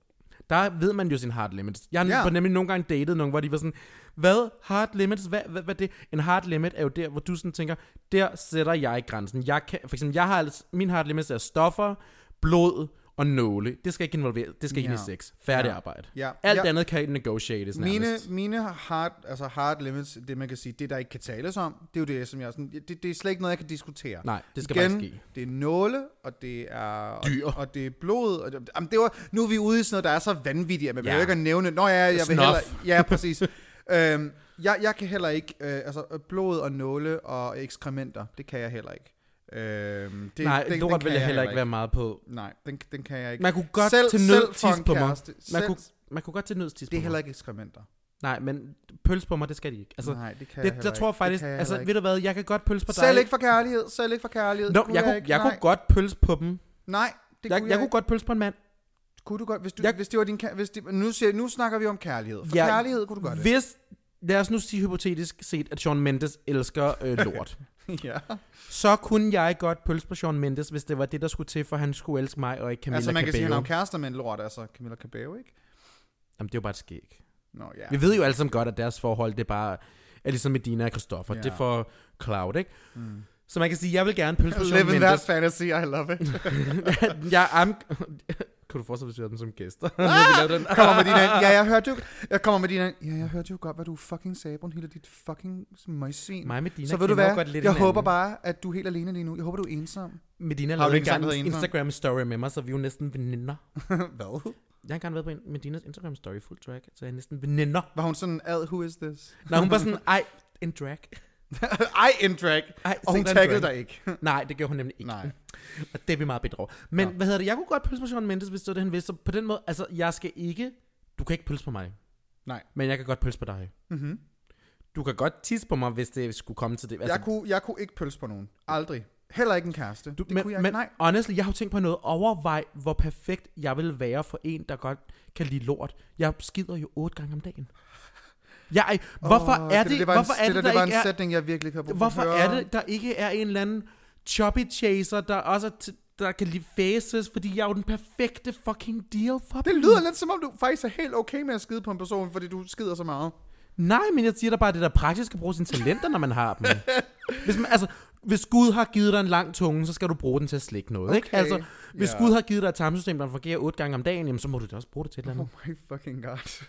Speaker 1: Der ved man jo sin hard limits. Jeg har
Speaker 2: Ja.
Speaker 1: yeah. nemlig nogle gange datet nogen, hvor de var sådan, hvad hard limits? Hvad, hvad, hvad er det? En hard limit er jo der, hvor du sådan tænker, der sætter jeg grænsen. Jeg kan, for eksempel, jeg har, altså- min hard limits er stoffer, blod og nåle. Det skal ikke involvere, det skal ikke ind i
Speaker 2: Ja.
Speaker 1: sex. Færdig arbejde.
Speaker 2: Ja.
Speaker 1: Alt
Speaker 2: Ja.
Speaker 1: andet kan negotiates nærmest.
Speaker 2: Mine, mine hard, altså hard limits, det man kan sige, det der ikke kan tales om, det er jo det, som jeg sådan, det, det er slet ikke noget, jeg kan diskutere.
Speaker 1: Nej, det skal
Speaker 2: Igen,
Speaker 1: bare ikke ske.
Speaker 2: det er nåle, og det er...
Speaker 1: Dyr.
Speaker 2: Og, og det er blod. Og det, jamen, det var, nu er vi ude i sådan noget, der er så vanvittigt, at man
Speaker 1: Ja.
Speaker 2: ja. behøver ikke at nævne... Nå ja, jeg vil
Speaker 1: Snuff.
Speaker 2: heller... Ja, præcis. øhm, jeg, jeg kan heller ikke... Øh, altså, blod og nåle og ekskrementer, det kan jeg heller ikke. Øhm, det,
Speaker 1: Nej,
Speaker 2: den,
Speaker 1: lort
Speaker 2: den kan
Speaker 1: vil jeg heller ikke være meget på.
Speaker 2: Nej, den, den kan jeg ikke.
Speaker 1: Man kunne godt
Speaker 2: Selv-
Speaker 1: til
Speaker 2: selv
Speaker 1: nød
Speaker 2: for en
Speaker 1: tisse på mig.
Speaker 2: kæreste.
Speaker 1: Man
Speaker 2: Selv-
Speaker 1: kunne, man kunne godt til nød tisse
Speaker 2: det
Speaker 1: på
Speaker 2: er
Speaker 1: mig.
Speaker 2: heller ikke ekskrementer.
Speaker 1: Nej, men pøls på mig, det skal de ikke. Altså,
Speaker 2: Nej, det kan jeg
Speaker 1: det,
Speaker 2: heller
Speaker 1: jeg tror
Speaker 2: ikke.
Speaker 1: faktisk,
Speaker 2: Det kan jeg
Speaker 1: altså
Speaker 2: heller
Speaker 1: ved du hvad, jeg kan godt pøls på dig.
Speaker 2: Selv ikke for kærlighed, selv ikke for kærlighed.
Speaker 1: Nå, jeg, kunne,
Speaker 2: ikke.
Speaker 1: jeg
Speaker 2: Nej.
Speaker 1: kunne godt pøls på dem.
Speaker 2: Nej, det
Speaker 1: Jeg,
Speaker 2: kunne
Speaker 1: jeg
Speaker 2: jeg,
Speaker 1: kunne godt pøls på en mand.
Speaker 2: ikke. Kunne du godt, hvis, du,
Speaker 1: Jeg-
Speaker 2: jeg, hvis det var din... kær- Hvis det, nu, siger, nu snakker vi om kærlighed. For
Speaker 1: Jeg-
Speaker 2: kærlighed kunne du godt det.
Speaker 1: Hvis, lad os nu sige hypotetisk set, at Sean Mendes elsker øh, lort.
Speaker 2: ja.
Speaker 1: så kunne jeg godt pøls på Sean Mendes, hvis det var det, der skulle til, for han skulle elske mig og ikke Camilla
Speaker 2: Altså, man kan sige,
Speaker 1: Cabello.
Speaker 2: han har jo kærester med en lort, altså Camilla Cabello, ikke?
Speaker 1: Jamen, det er jo bare et skæg.
Speaker 2: Nå, ja.
Speaker 1: Vi ved jo alle sammen godt, at deres forhold, det er bare, er ligesom Medina og Christoffer.
Speaker 2: Ja.
Speaker 1: Det er for Cloud, ikke? Mm. Så man kan sige, jeg vil gerne pølse på Shawn
Speaker 2: Live in that
Speaker 1: Mendes.
Speaker 2: fantasy, I love it.
Speaker 1: jeg, I'm... Kan du fortsætte, hvis vi har dem som gæster? Ah! den.
Speaker 2: kommer med dine... Ja, jeg hørte jo... Jeg kommer med dine... Ja, jeg hørte jo godt, hvad du fucking sagde, Brunhilde, dit fucking møgsvin.
Speaker 1: Mig og Medina
Speaker 2: Så ved du
Speaker 1: kender jo
Speaker 2: hvad?
Speaker 1: godt lidt
Speaker 2: jeg
Speaker 1: hinanden.
Speaker 2: håber bare, at du er helt alene lige nu. Jeg håber, du er ensom.
Speaker 1: Medina
Speaker 2: Har du
Speaker 1: lavede
Speaker 2: ikke
Speaker 1: engang
Speaker 2: samlet
Speaker 1: en
Speaker 2: en for?
Speaker 1: Instagram-story med mig, så vi er jo næsten veninder.
Speaker 2: hvad?
Speaker 1: Jeg har engang været på en- Medinas Instagram-story full drag, så jeg er næsten veninder.
Speaker 2: Var hun sådan, ad, who is this?
Speaker 1: Når hun var sådan, ej, en drag.
Speaker 2: I in drag.
Speaker 1: Ej,
Speaker 2: Og hun
Speaker 1: sikkert en
Speaker 2: taggede
Speaker 1: drag.
Speaker 2: dig ikke.
Speaker 1: Nej, det gjorde hun nemlig ikke.
Speaker 2: Nej.
Speaker 1: Og det er vi meget bedre over. Men hvad hedder det? Jeg kunne godt pølse på Sean Mendes, hvis det var det, han vidste. Så på den måde, altså, jeg skal ikke... Du kan ikke pølse på mig.
Speaker 2: Nej.
Speaker 1: Men jeg kan godt pølse på dig. Mm-hmm. Du kan godt tisse på mig, hvis det skulle komme til det. Altså,
Speaker 2: Jeg kunne, jeg kunne ikke pølse på nogen. Aldrig. Heller ikke en kæreste.
Speaker 1: du,
Speaker 2: det
Speaker 1: men,
Speaker 2: kunne jeg
Speaker 1: men
Speaker 2: ikke. Nej.
Speaker 1: honestly, jeg har jo tænkt på noget. Overvej, hvor perfekt jeg vil være for en, der godt kan lide lort. Jeg skider jo otte gange om dagen. Jeg, ej, hvorfor
Speaker 2: Åh,
Speaker 1: er det,
Speaker 2: var en,
Speaker 1: hvorfor er det,
Speaker 2: det var
Speaker 1: der
Speaker 2: en
Speaker 1: ikke er,
Speaker 2: sætning, jeg virkelig ikke har brug for at
Speaker 1: hvorfor
Speaker 2: høre.
Speaker 1: er det, der ikke er en eller anden choppy chaser, der også er t- der kan lide faces, fordi jeg er jo den perfekte fucking deal for
Speaker 2: Det
Speaker 1: dem.
Speaker 2: lyder lidt som om, du faktisk er helt okay med at skide på en person, fordi du skider så meget.
Speaker 1: Nej, men jeg siger da bare, at det er da praktisk at bruge sine talenter, når man har dem. Hvis, man, altså, hvis Gud har givet dig en lang tunge, så skal du bruge den til at slikke noget. Okay. Ikke?
Speaker 2: Okay,
Speaker 1: Altså, hvis
Speaker 2: ja.
Speaker 1: Gud har givet dig et tarmsystem, der fungerer otte gange om dagen, jamen, så må du da også bruge det til et eller andet.
Speaker 2: My fucking god.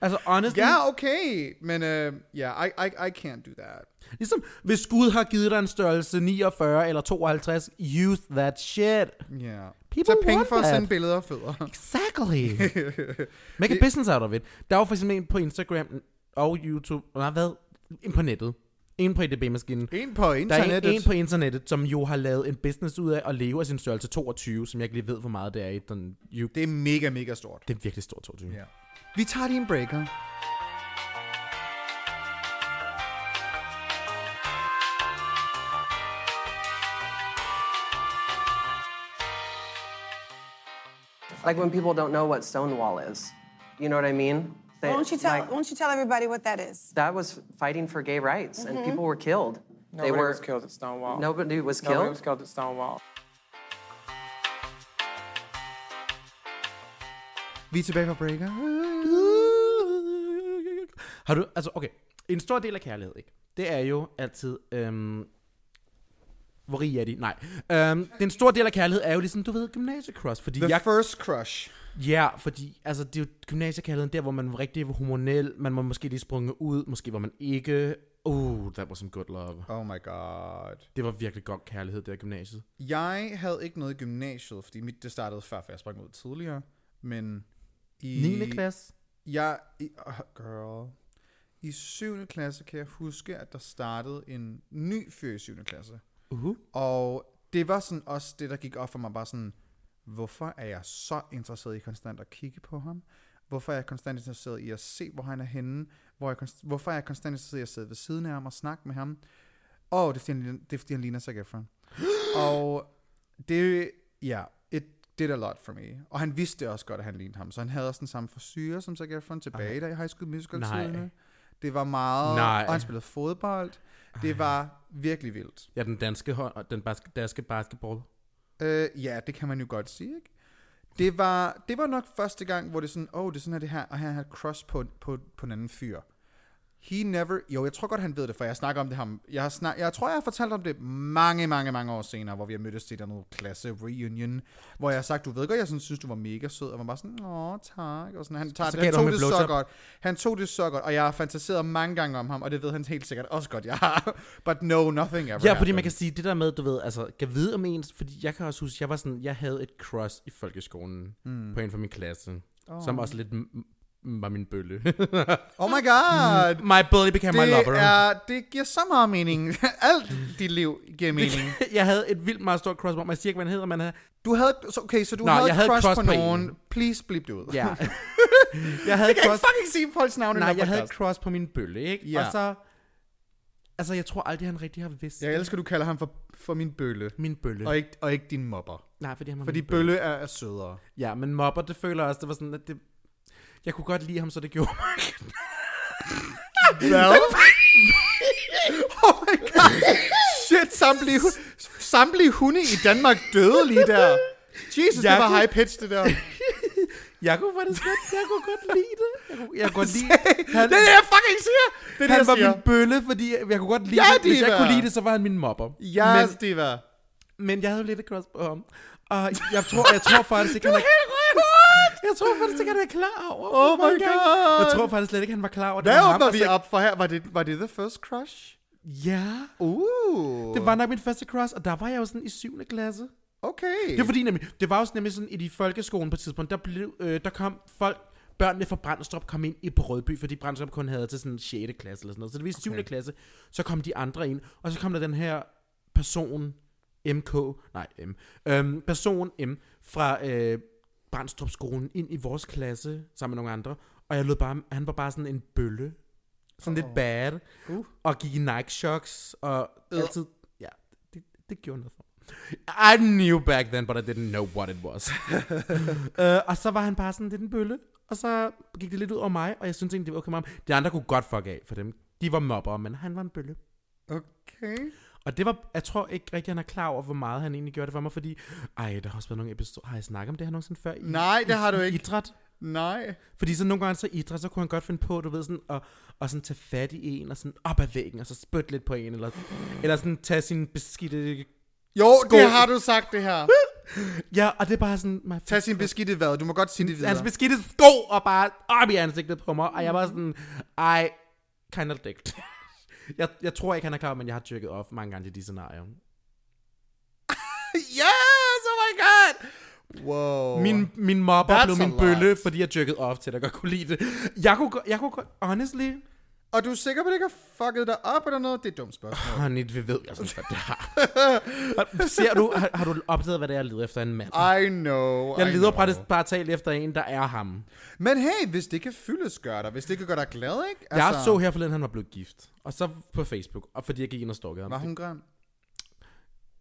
Speaker 1: Altså, honestly,
Speaker 2: yeah, okay. Men uh, yeah, I, I, I can't do that.
Speaker 1: ligesom hvis Gud har givet dig en størrelse 49 eller 52, use that shit.
Speaker 2: Yeah.
Speaker 1: People
Speaker 2: Tag penge
Speaker 1: want
Speaker 2: for at
Speaker 1: that.
Speaker 2: sende billeder og fødder.
Speaker 1: Exactly. Make a business out of it. Der var for eksempel en på Instagram og YouTube, nej hvad, en på nettet, en på EDB-maskinen,
Speaker 2: En på
Speaker 1: Der er en,
Speaker 2: internettet.
Speaker 1: en på internettet, som jo har lavet en business ud af at leve af sin størrelse 22, som jeg ikke lige ved, hvor meget det er i den... You,
Speaker 2: Det er mega, mega stort.
Speaker 1: det er virkelig stor 22.
Speaker 2: Ja. Vi tager lige en breaker.
Speaker 6: Like when people don't know what Stonewall is. You know what I mean? They-
Speaker 7: Why don't you tell?
Speaker 6: like,
Speaker 7: why don't you tell everybody what that is?
Speaker 6: that was fighting for gay rights,
Speaker 7: Mm-hmm.
Speaker 6: and people were killed. they were
Speaker 8: was killed at Stonewall.
Speaker 6: Nobody was
Speaker 8: Nobody
Speaker 6: killed?
Speaker 8: was killed at Stonewall.
Speaker 2: Vi er tilbage fra breaker.
Speaker 1: Har du... Altså, okay. En stor del af kærlighed, ikke? Det er jo altid... Øhm, hvor rig er de? Nej. Øhm, den store del af kærlighed er jo ligesom, du ved, gymnasiecross. Fordi
Speaker 2: The
Speaker 1: jeg,
Speaker 2: first crush.
Speaker 1: ja, fordi altså, det er jo gymnasiekærligheden der, hvor man var rigtig hormonel. Man var måske lige sprunget ud. Måske var man ikke. Oh, that was some good love.
Speaker 2: Oh my god.
Speaker 1: Det var virkelig godt kærlighed, det der gymnasiet.
Speaker 2: Jeg havde ikke noget i gymnasiet, fordi mit, det startede før, for jeg sprang ud tidligere. Men i...
Speaker 1: 9. klasse.
Speaker 2: Jeg, i, oh, girl. I 7. klasse kan jeg huske, at der startede en ny fyr i 7. klasse.
Speaker 1: Uh-huh.
Speaker 2: Og det var sådan også det, der gik op for mig, bare sådan, hvorfor er jeg så interesseret i konstant at kigge på ham? Hvorfor er jeg konstant interesseret i at se, hvor han er henne? Hvor jeg, konst- hvorfor er jeg konstant interesseret i at sidde ved siden af ham og snakke med ham? Åh, oh, det, er, fordi han ligner- det er, fordi han ligner Zac Efron. og det, ja, it did a lot for me. Og han vidste også godt, at han lignede ham, så han havde også den samme frisyre som Zac Efron tilbage, da i High School Musical
Speaker 1: Nej.
Speaker 2: tiderne. Det var meget,
Speaker 1: Nej.
Speaker 2: og han spillede fodbold. Det var virkelig vildt.
Speaker 1: Ja, den danske hånd, og den baske, danske basketball.
Speaker 2: Øh, ja, det kan man jo godt sige, ikke? Det var, det var nok første gang, hvor det er sådan, åh, oh, det er sådan her, det her, og her har jeg et crush på, på, på en anden fyr. He never, jo, jeg tror godt, han ved det, for jeg snakker om det ham. Jeg, har snak, jeg tror, jeg har fortalt om det mange, mange, mange år senere, hvor vi har mødtes til et eller andet klasse reunion, hvor jeg har sagt, du ved godt, jeg sådan, synes, du var mega sød, og man bare sådan, åh, tak. Og sådan, han, tager,
Speaker 1: Så
Speaker 2: så
Speaker 1: gav
Speaker 2: han
Speaker 1: du
Speaker 2: tog
Speaker 1: ham et
Speaker 2: det så
Speaker 1: blowjob.
Speaker 2: godt. Han tog det så godt, og jeg har fantaseret mange gange om ham, og det ved han helt sikkert også godt, jeg har. But no, nothing ever
Speaker 1: Ja, fordi man
Speaker 2: happened.
Speaker 1: kan sige, det der med, du ved, altså, kan vide om ens, fordi jeg kan også huske, jeg var sådan, jeg havde et crush i folkeskolen mm. på en fra min klasse, oh. som også lidt m- m- var min bølle.
Speaker 2: Oh my god!
Speaker 1: my bully became my lover.
Speaker 2: Det, er, det giver så meget mening. Alt dit liv giver mening.
Speaker 1: jeg havde et vildt meget stort crush, hvor man siger ikke, hvad han hedder, men han
Speaker 2: Du havde, så- okay, så du
Speaker 1: Nå,
Speaker 2: havde,
Speaker 1: jeg havde
Speaker 2: crush,
Speaker 1: crush
Speaker 2: på,
Speaker 1: på en.
Speaker 2: nogen. Please blip det ud.
Speaker 1: Ja.
Speaker 2: jeg
Speaker 1: jeg havde et
Speaker 2: kan ikke
Speaker 1: crush,
Speaker 2: fucking sige folks navne
Speaker 1: nej,
Speaker 2: i
Speaker 1: jeg
Speaker 2: jeg,
Speaker 1: havde et crush på min bølle, ikke?
Speaker 2: Ja.
Speaker 1: Og så, altså, jeg tror aldrig, han rigtig har vidst
Speaker 2: jeg elsker, du kalder ham for, for min bølle.
Speaker 1: min bølle.
Speaker 2: Og ikke, og ikke din mobber.
Speaker 1: nej, fordi han var
Speaker 2: Fordi
Speaker 1: min bølle.
Speaker 2: bølle er, er sødere.
Speaker 1: Ja, men mobber, det føler jeg også, det var sådan, at det... Jeg kunne godt lide ham, så det gjorde mig.
Speaker 2: Hvad? oh my god. Shit, samtlige, hu- samtlige hunde i Danmark døde lige der. Jesus,
Speaker 1: Jeg
Speaker 2: det var
Speaker 1: kunne-
Speaker 2: high pitch, det der.
Speaker 1: Jeg kunne faktisk godt, jeg kunne godt lide det. Jeg kunne, jeg kunne godt lide...
Speaker 2: Han, det er det, jeg fucking siger. Det er det,
Speaker 1: han
Speaker 2: jeg
Speaker 1: var
Speaker 2: siger.
Speaker 1: min bølle, fordi jeg, jeg kunne godt lide
Speaker 2: Ja,
Speaker 1: det. Hvis jeg
Speaker 2: diva.
Speaker 1: kunne lide det, så var han min mobber.
Speaker 2: Ja,
Speaker 1: Men,
Speaker 2: yes, Diva.
Speaker 1: men jeg havde jo lidt et cross på ham. Og jeg tror, jeg tror faktisk ikke, han er... Jeg tror faktisk ikke, han er klar over.
Speaker 2: Oh
Speaker 1: hvor
Speaker 2: my
Speaker 1: gang-
Speaker 2: God.
Speaker 1: Jeg tror faktisk slet ikke, han var klar over det.
Speaker 2: Hvad
Speaker 1: var ham,
Speaker 2: åbner
Speaker 1: og
Speaker 2: vi
Speaker 1: så-
Speaker 2: op for her? Var det, var det The First Crush?
Speaker 1: Ja,
Speaker 2: Uh.
Speaker 1: det var nok min første cross, og der var jeg jo sådan i 7. klasse.
Speaker 2: Okay.
Speaker 1: Det er fordi nemlig, det var også nemlig sådan, at i folkeskolen på et tidspunkt, der, blev, øh, der kom folk, børnene fra Brandstrup kom ind i på Rødby, fordi Brandstrup kun havde til sådan 6. klasse eller sådan noget. Så det var i 7. Okay. klasse, så kom de andre ind, og så kom der den her person, MK, nej M, øhm, person M fra øh, Brandstrup-skolen ind i vores klasse sammen med nogle andre, og jeg lød bare, han var bare sådan en bølle, sådan oh. lidt bad, uh. og gik i Nike-shocks, og altid, ja, det, det gjorde noget for mig. I knew back then, but I didn't know what it was. uh, og så var han bare sådan lidt en bølle, og så gik det lidt ud over mig, og jeg synes egentlig, det var okay med ham. De andre kunne godt fuck af for dem. De var mobber, men han var en bølle.
Speaker 2: Okay.
Speaker 1: Og det var, jeg tror ikke rigtig, han er klar over, hvor meget han egentlig gjorde det for mig, fordi, ej, der har også været nogle episoder, har jeg snakket om det her nogensinde før? I,
Speaker 2: Nej, det har du
Speaker 1: i
Speaker 2: ikke.
Speaker 1: Idræt?
Speaker 2: Nej.
Speaker 1: Fordi så nogle gange så i idræt, så kunne han godt finde på, du ved, sådan, at, at sådan tage fat i en, og sådan op ad væggen, og så spytte lidt på en, eller, eller sådan tage sin beskidte...
Speaker 2: Jo,
Speaker 1: Sko.
Speaker 2: det har du sagt, det her.
Speaker 1: Ja, og det er bare sådan... My
Speaker 2: Tag sin beskidte hvad, du må godt sige det videre.
Speaker 1: Hans beskidte sko, og bare op i ansigtet på mig, og jeg var sådan, I kind of dicked. jeg, jeg tror ikke, han er klar, men jeg har tyrket off mange gange til de scenarier.
Speaker 2: Yes, oh my god! Wow.
Speaker 1: Min, min mobber
Speaker 2: That's
Speaker 1: blev
Speaker 2: a
Speaker 1: min
Speaker 2: lot.
Speaker 1: bølle, fordi jeg jerkede off til, at jeg godt kunne lide det. Jeg kunne, go- jeg kunne godt, honestly,
Speaker 2: Og du er sikker på, at det ikke har fucket dig op eller noget? Det er et dumt spørgsmål.
Speaker 1: honey, vi ved, jeg synes, at det har. Har- Ser du, har, har, du opdaget, hvad det er, jeg leder efter en mand?
Speaker 2: I know,
Speaker 1: Jeg
Speaker 2: I
Speaker 1: leder
Speaker 2: know.
Speaker 1: bare, bare talt efter en, der er ham.
Speaker 2: Men hey, hvis det kan fyldes, gør dig. Hvis det kan gøre dig glad, ikke? Altså,
Speaker 1: Jeg så her forleden, han var blevet gift. Og så på Facebook, og fordi jeg gik ind og stalkede ham.
Speaker 2: Var hun grim?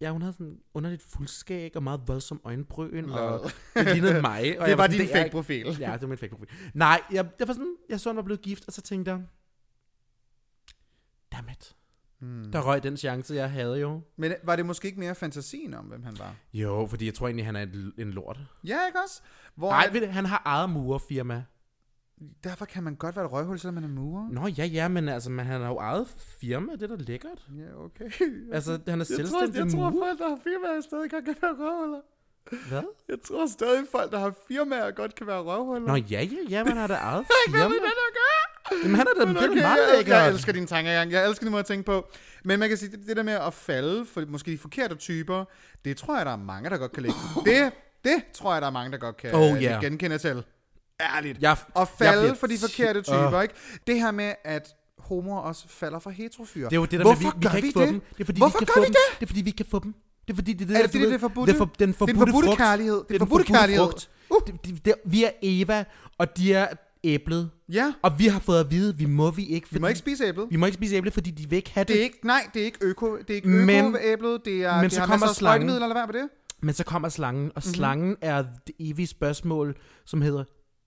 Speaker 1: Ja, hun havde sådan underligt fuldskæg og meget voldsom øjenbryn, og det lignede mig. Og
Speaker 2: Det
Speaker 1: jeg
Speaker 2: var
Speaker 1: sådan, "Det
Speaker 2: din
Speaker 1: er ikke-
Speaker 2: fake-profil."
Speaker 1: Ja, det var min fake-profil. Nej, jeg, jeg var sådan, jeg så, hun var blevet gift, og så tænkte jeg, dammit. Hmm. Der røg den chance, jeg havde jo.
Speaker 2: Men var det måske ikke mere fantasien om, hvem han var?
Speaker 1: Jo, fordi jeg tror egentlig, han er et, en lort.
Speaker 2: Ja, ikke også? Hvor
Speaker 1: Nej,
Speaker 2: at-
Speaker 1: ved, du, han har eget murerfirma.
Speaker 2: derfor kan man godt være et røghul, selvom man er murer.
Speaker 1: Nå ja, ja, men altså, men han har jo eget firma, det er da lækkert.
Speaker 2: Ja, okay.
Speaker 1: Altså, han er
Speaker 2: Jeg tror,
Speaker 1: selvstændig
Speaker 2: jeg tror
Speaker 1: murer.
Speaker 2: folk, der har firmaer, stadig godt kan være røvhuller.
Speaker 1: Hvad?
Speaker 2: Jeg tror stadig, folk, der har firmaer, godt kan være røvhuller.
Speaker 1: Nå ja, ja, ja, man har da eget
Speaker 2: Hvad med
Speaker 1: firma.
Speaker 2: det, der gør?
Speaker 1: Jamen, han er da
Speaker 2: Men
Speaker 1: det er da
Speaker 2: okay,
Speaker 1: meget
Speaker 2: jeg,
Speaker 1: lækkert.
Speaker 2: jeg elsker din tankegang. Jeg elsker din måde at tænke på. Men man kan sige, det, det der med at falde for måske de forkerte typer, det tror jeg, der er mange, der godt kan lægge. Det, det tror jeg, der er mange, der godt kan
Speaker 1: Oh,
Speaker 2: øh,
Speaker 1: yeah.
Speaker 2: genkende til. Ærligt.
Speaker 1: Jeg- jeg
Speaker 2: at falde
Speaker 1: bliver
Speaker 2: for de
Speaker 1: ti-
Speaker 2: forkerte typer,
Speaker 1: Åh.
Speaker 2: ikke? Det her med, at homoer også falder for heterofyre.
Speaker 1: Det er jo det der
Speaker 2: Hvorfor
Speaker 1: med, vi, vi
Speaker 2: gør
Speaker 1: kan ikke
Speaker 2: vi
Speaker 1: få
Speaker 2: det?
Speaker 1: dem. Det er, fordi,
Speaker 2: Hvorfor
Speaker 1: vi kan få
Speaker 2: gør vi
Speaker 1: dem.
Speaker 2: det?
Speaker 1: Det er, fordi vi kan få dem. Det er, fordi det, det
Speaker 2: Er
Speaker 1: der,
Speaker 2: det,
Speaker 1: du
Speaker 2: fordi
Speaker 1: ved,
Speaker 2: det er forbudte?
Speaker 1: Den, for, den forbudte,
Speaker 2: forbudte
Speaker 1: frugt.
Speaker 2: kærlighed. Det er
Speaker 1: Det er den
Speaker 2: forbudte
Speaker 1: forbudte
Speaker 2: kærlighed. Uh!
Speaker 1: frugt. Det, det, det, vi er Eva, og de er æblet.
Speaker 2: Ja.
Speaker 1: Og vi har fået at vide, vi må vi ikke.
Speaker 2: Vi må ikke spise æblet.
Speaker 1: Vi må ikke spise æble, fordi de vil ikke have det.
Speaker 2: Det er ikke, nej, det er ikke øko, det er ikke
Speaker 1: Men-
Speaker 2: øko-æblet, det er,
Speaker 1: men
Speaker 2: det
Speaker 1: så
Speaker 2: har
Speaker 1: kommer
Speaker 2: masser
Speaker 1: slangen.
Speaker 2: af sprøjtemidler, eller hvad med det?
Speaker 1: Men så kommer slangen, og
Speaker 2: Mhm.
Speaker 1: slangen mm-hmm. er det evige spørgsmål, som hedder,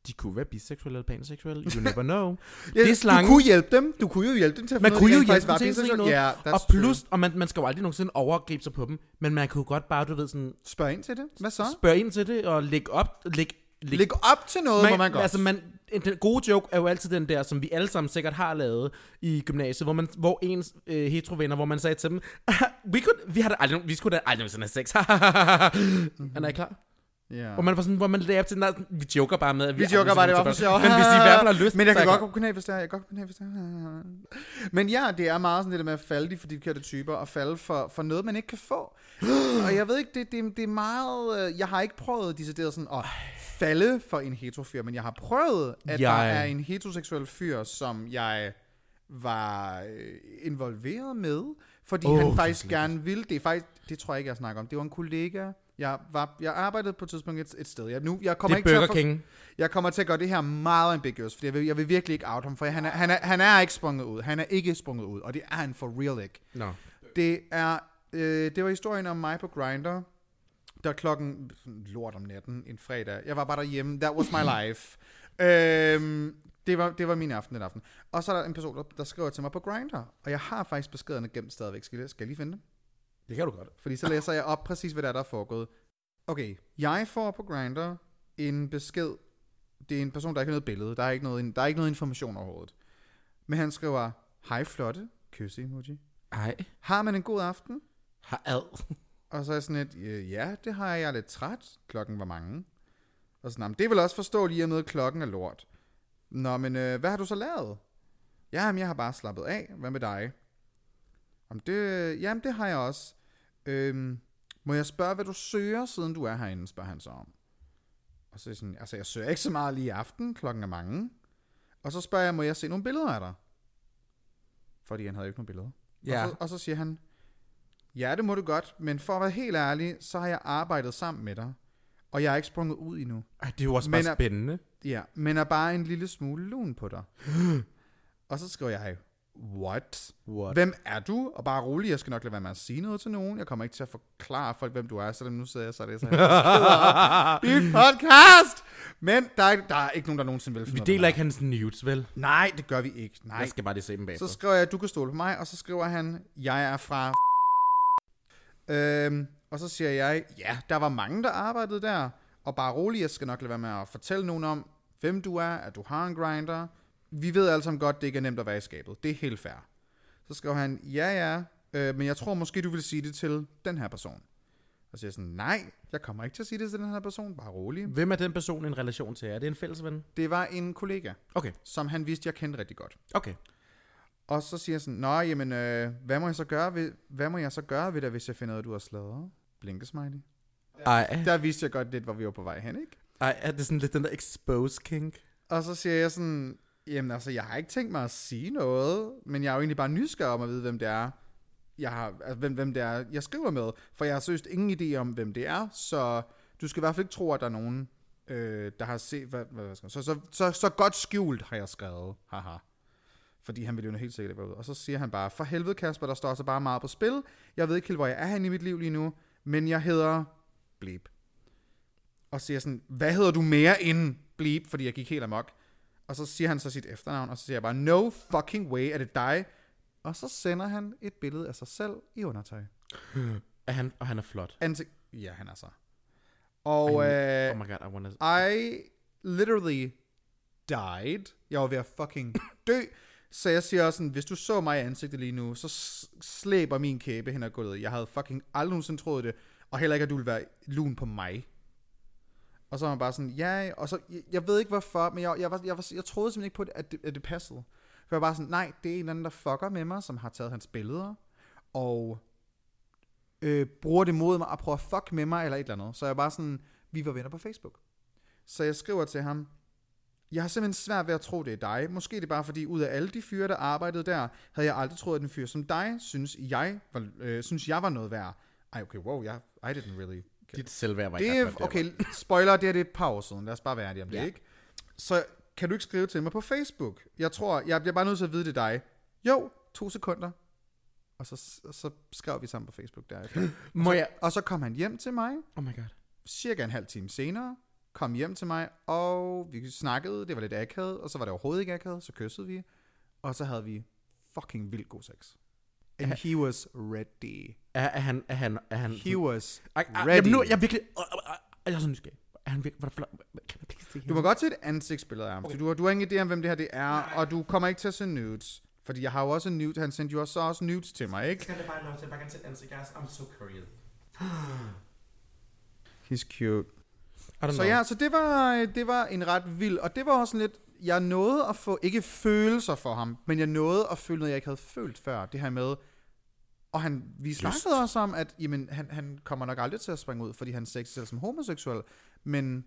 Speaker 1: de kunne være biseksuelle eller panseksuelle. You never know.
Speaker 2: Ja,
Speaker 1: det er
Speaker 2: Du
Speaker 1: slangen.
Speaker 2: kunne hjælpe dem. Du kunne jo hjælpe dem til at
Speaker 1: Man
Speaker 2: finde
Speaker 1: kunne
Speaker 2: ud af,
Speaker 1: jo
Speaker 2: at de
Speaker 1: hjælpe dem
Speaker 2: faktisk
Speaker 1: til at se
Speaker 2: var biseksuelle.
Speaker 1: noget.
Speaker 2: Ja, that's
Speaker 1: og plus,
Speaker 2: true.
Speaker 1: og man, man skal jo aldrig nogensinde overgribe sig på dem, men man kan jo godt bare, du ved, sådan,
Speaker 2: Spørg ind til det. Hvad så?
Speaker 1: spørge ind til det, og lægge op, lægge, lægge
Speaker 2: Læg op til noget, man, hvor man godt.
Speaker 1: Altså, man, en- den gode joke er jo altid den der, som vi alle sammen sikkert har lavet i gymnasiet, hvor, man, hvor ens øh, heterovenner, hvor man sagde til dem, vi, kunne, vi, har da aldrig, vi skulle da aldrig nogensinde have sex. mm-hmm. Er I klar?
Speaker 2: ja.
Speaker 1: Hvor man, var sådan, hvor man lagde op til den der, sådan, vi joker bare med, at vi,
Speaker 2: vi
Speaker 1: aldrig
Speaker 2: joker bare, det var for
Speaker 1: nogensinde
Speaker 2: sjov.
Speaker 1: har sex." Men hvis I i hvert fald har lyst,
Speaker 2: Men jeg
Speaker 1: så
Speaker 2: kan
Speaker 1: er
Speaker 2: godt kunne knæ, hvis det er. Jeg kan godt kunne knæ, hvis det er. Men ja, det er meget sådan det der med at falde de for de forkerte typer, og falde for, for noget, man ikke kan få. og jeg ved ikke, det, det, det er meget... øh, Jeg har ikke prøvet decideret sådan at falde for en heterofyr, men jeg har prøvet, at jeg... der
Speaker 1: Jeg-
Speaker 2: er en heteroseksuel fyr, som jeg var øh, involveret med, fordi oh, han faktisk gerne ville. Det er faktisk, det tror jeg ikke, jeg snakker om. Det var en kollega. Jeg, var, jeg arbejdede på et tidspunkt et, et sted. Jeg, nu, jeg kommer
Speaker 1: Det er
Speaker 2: ikke til at
Speaker 1: Burger
Speaker 2: for-
Speaker 1: King.
Speaker 2: Mm-hmm. Jeg kommer til at gøre det her meget ambiguous, for jeg vil, jeg vil virkelig ikke out ham, for han er, han, er, han er ikke sprunget ud. Han er ikke sprunget ud, og det er han for real ikke.
Speaker 1: Nå.
Speaker 2: Det er øh, det var historien om mig på Grinder. Der er klokken lort om natten en fredag. Jeg var bare derhjemme. That was my life. øhm, det var, det var min aften den aften. Og så er der en person, der, der skriver til mig på Grinder, og jeg har faktisk beskederne gemt stadigvæk. Skal jeg, skal jeg lige finde dem?
Speaker 1: Det kan du godt.
Speaker 2: Fordi så læser jeg op præcis, hvad der er, der er foregået. Okay, jeg får på Grinder en besked. Det er en person, der ikke har noget billede. Der er ikke noget, der er ikke noget information overhovedet. Men han skriver, hej flotte, kysse emoji.
Speaker 1: Ej.
Speaker 2: Har man en god aften?
Speaker 1: Har ad.
Speaker 2: Og så er jeg sådan lidt, "Øh, ja, det har jeg, jeg er lidt træt. Klokken var mange. Og sådan, "Nå, men det vil også forstå lige med, at klokken er lort. Nå, men øh, hvad har du så lavet? Jamen, jeg har bare slappet af. Hvad med dig? Jamen, det, øh, jamen, det har jeg også. Øhm, må jeg spørge, hvad du søger, siden du er herinde, spørger han så om. Og så er jeg sådan, altså, jeg søger ikke så meget lige i aften. Klokken er mange. Og så spørger jeg, må jeg se nogle billeder af dig? Fordi han havde jo ikke nogen billeder.
Speaker 1: Ja.
Speaker 2: Og, så, og så siger han, ja, det må du godt, men for at være helt ærlig, så har jeg arbejdet sammen med dig, og jeg er ikke sprunget ud endnu.
Speaker 1: Ej, det er jo også
Speaker 2: Men
Speaker 1: bare
Speaker 2: er-
Speaker 1: spændende.
Speaker 2: Ja, men er bare en lille smule lun på dig. og så skriver jeg, what?
Speaker 1: What?
Speaker 2: Hvem er du? Og bare rolig, jeg skal nok lade være med at sige noget til nogen. Jeg kommer ikke til at forklare folk, hvem du er, selvom nu sidder jeg så det så i en podcast. Men der er, der er ikke nogen, der nogensinde vil finde
Speaker 1: Vi
Speaker 2: ud af, hvem
Speaker 1: deler
Speaker 2: jeg
Speaker 1: ikke hans nudes, vel?
Speaker 2: er. Nej, det gør vi ikke. Nej.
Speaker 1: Jeg skal bare lige se dem bagefter.
Speaker 2: Så skriver jeg, du kan stole på mig, og så skriver han, jeg er fra... Øhm, og så siger jeg, ja, der var mange, der arbejdede der, og bare rolig, jeg skal nok lade være med at fortælle nogen om, hvem du er, at du har en grinder. Vi ved alle sammen godt, det ikke er nemt at være i skabet. Det er helt fair. Så skrev han, ja ja, øh, men jeg tror måske, du vil sige det til den her person. Og så siger jeg sådan, nej, jeg kommer ikke til at sige det til den her person, bare rolig.
Speaker 1: Hvem er den person i en relation til? Er det en fælles ven?
Speaker 2: Det var en kollega,
Speaker 1: Okay,
Speaker 2: som han vidste, jeg kendte rigtig godt.
Speaker 1: okay.
Speaker 2: Og så siger jeg sådan, nå, jamen, øh, hvad, må jeg så gøre ved, hvad må jeg så gøre ved dig, hvis jeg finder ud af, at du har sladret? Blinkesmiley.
Speaker 1: Ej,
Speaker 2: Der vidste jeg godt lidt, hvor vi var på vej hen, ikke?
Speaker 1: ej, er det sådan lidt den der expose kink?
Speaker 2: Og så siger jeg sådan, jamen altså, jeg har ikke tænkt mig at sige noget, men jeg er jo egentlig bare nysgerrig om at vide, hvem det er, jeg har, altså, hvem, hvem det er, jeg skriver med. For jeg har søst ingen idé om, hvem det er, så du skal i hvert fald ikke tro, at der er nogen, øh, der har set, hvad, hvad, hvad skal man- så, så, så, så godt skjult har jeg skrevet, haha. Fordi han ville jo helt sikkert være ude. Og så siger han bare, for helvede Kasper, der står så bare meget på spil. Jeg ved ikke helt, hvor jeg er henne i mit liv lige nu, men jeg hedder Bleep. Og siger sådan, hvad hedder du mere end Bleep? Fordi jeg gik helt amok. Og så siger han så sit efternavn, og så siger jeg bare, no fucking way, er det dig? Og så sender han et billede af sig selv i undertøj.
Speaker 1: Er han, og han er flot.
Speaker 2: Ansigt. Ja, han er så. Og øh,
Speaker 1: oh my god, I wanna...
Speaker 2: I literally died. Jeg var ved at fucking dø. Så jeg siger også sådan, hvis du så mig i ansigtet lige nu, så s- slæber min kæbe hen ad gulvet. Jeg havde fucking aldrig nogensinde troet det, og heller ikke, at du ville være lun på mig. Og så var han bare sådan, ja, og så, jeg, jeg ved ikke hvorfor, men jeg, jeg, var, jeg, var, jeg troede simpelthen ikke på, det, at det, at det passede. For jeg var bare sådan, nej, det er en eller anden, der fucker med mig, som har taget hans billeder, og øh, bruger det mod mig og prøver at fuck med mig, eller et eller andet. Så jeg bare sådan, vi var venner på Facebook. Så jeg skriver til ham, jeg har simpelthen svært ved at tro, det er dig. Måske er det bare fordi, ud af alle de fyre, der arbejdede der, havde jeg aldrig troet, at en fyr som dig, synes jeg var, øh, synes jeg var noget værd. Ej, okay, wow, jeg, I didn't really... get
Speaker 1: Dit selvværd var
Speaker 2: det
Speaker 1: ikke
Speaker 2: er,
Speaker 1: ret godt,
Speaker 2: okay, spoiler, det her det er et par år siden. Lad os bare være ærlige om det,
Speaker 1: Ja.
Speaker 2: ikke? Så kan du ikke skrive til mig på Facebook? Jeg tror, jeg bliver bare nødt til at vide det er dig. Jo, to sekunder. Og så, og så skrev vi sammen på Facebook derefter.
Speaker 1: Må jeg...
Speaker 2: og så kom han hjem til mig,
Speaker 1: Oh my god.
Speaker 2: cirka en halv time senere, kom hjem til mig, og vi snakkede, det var lidt akavet, og så var det overhovedet ikke akavet, så kyssede vi, og så havde vi fucking vildt god sex. And he was ready.
Speaker 1: Er, er han... Er han... Er han
Speaker 2: He was
Speaker 1: Altså, Ej, ej,
Speaker 2: ready.
Speaker 1: jamen nu, jeg er virkelig... Øh, øh, øh, Jeg er så nysgerrig. Er han virkelig... Hvor er flot? Kan man please se
Speaker 2: Du
Speaker 1: hende?
Speaker 2: må godt se et ansigtsbillede af ham, okay. du, har- du har ingen idé om, hvem det her det er, og du kommer ikke til at se nudes. Fordi jeg har jo også en nude, han sendte jo også, så også nudes til mig, ikke?
Speaker 1: Jeg bare lov til at bare gerne sætte ansigt. Jeg er so curious.
Speaker 2: He's cute.
Speaker 1: I don't
Speaker 2: Så ja, så det var, øh, det var en ret vild, og det var også sådan lidt, jeg nåede at få, ikke følelser for ham, men jeg nåede at føle noget, jeg ikke havde følt før, det her med, og han, vi snakkede også om, at jamen, han, han kommer nok aldrig til at springe ud, fordi han ser sig selv som homoseksuel, men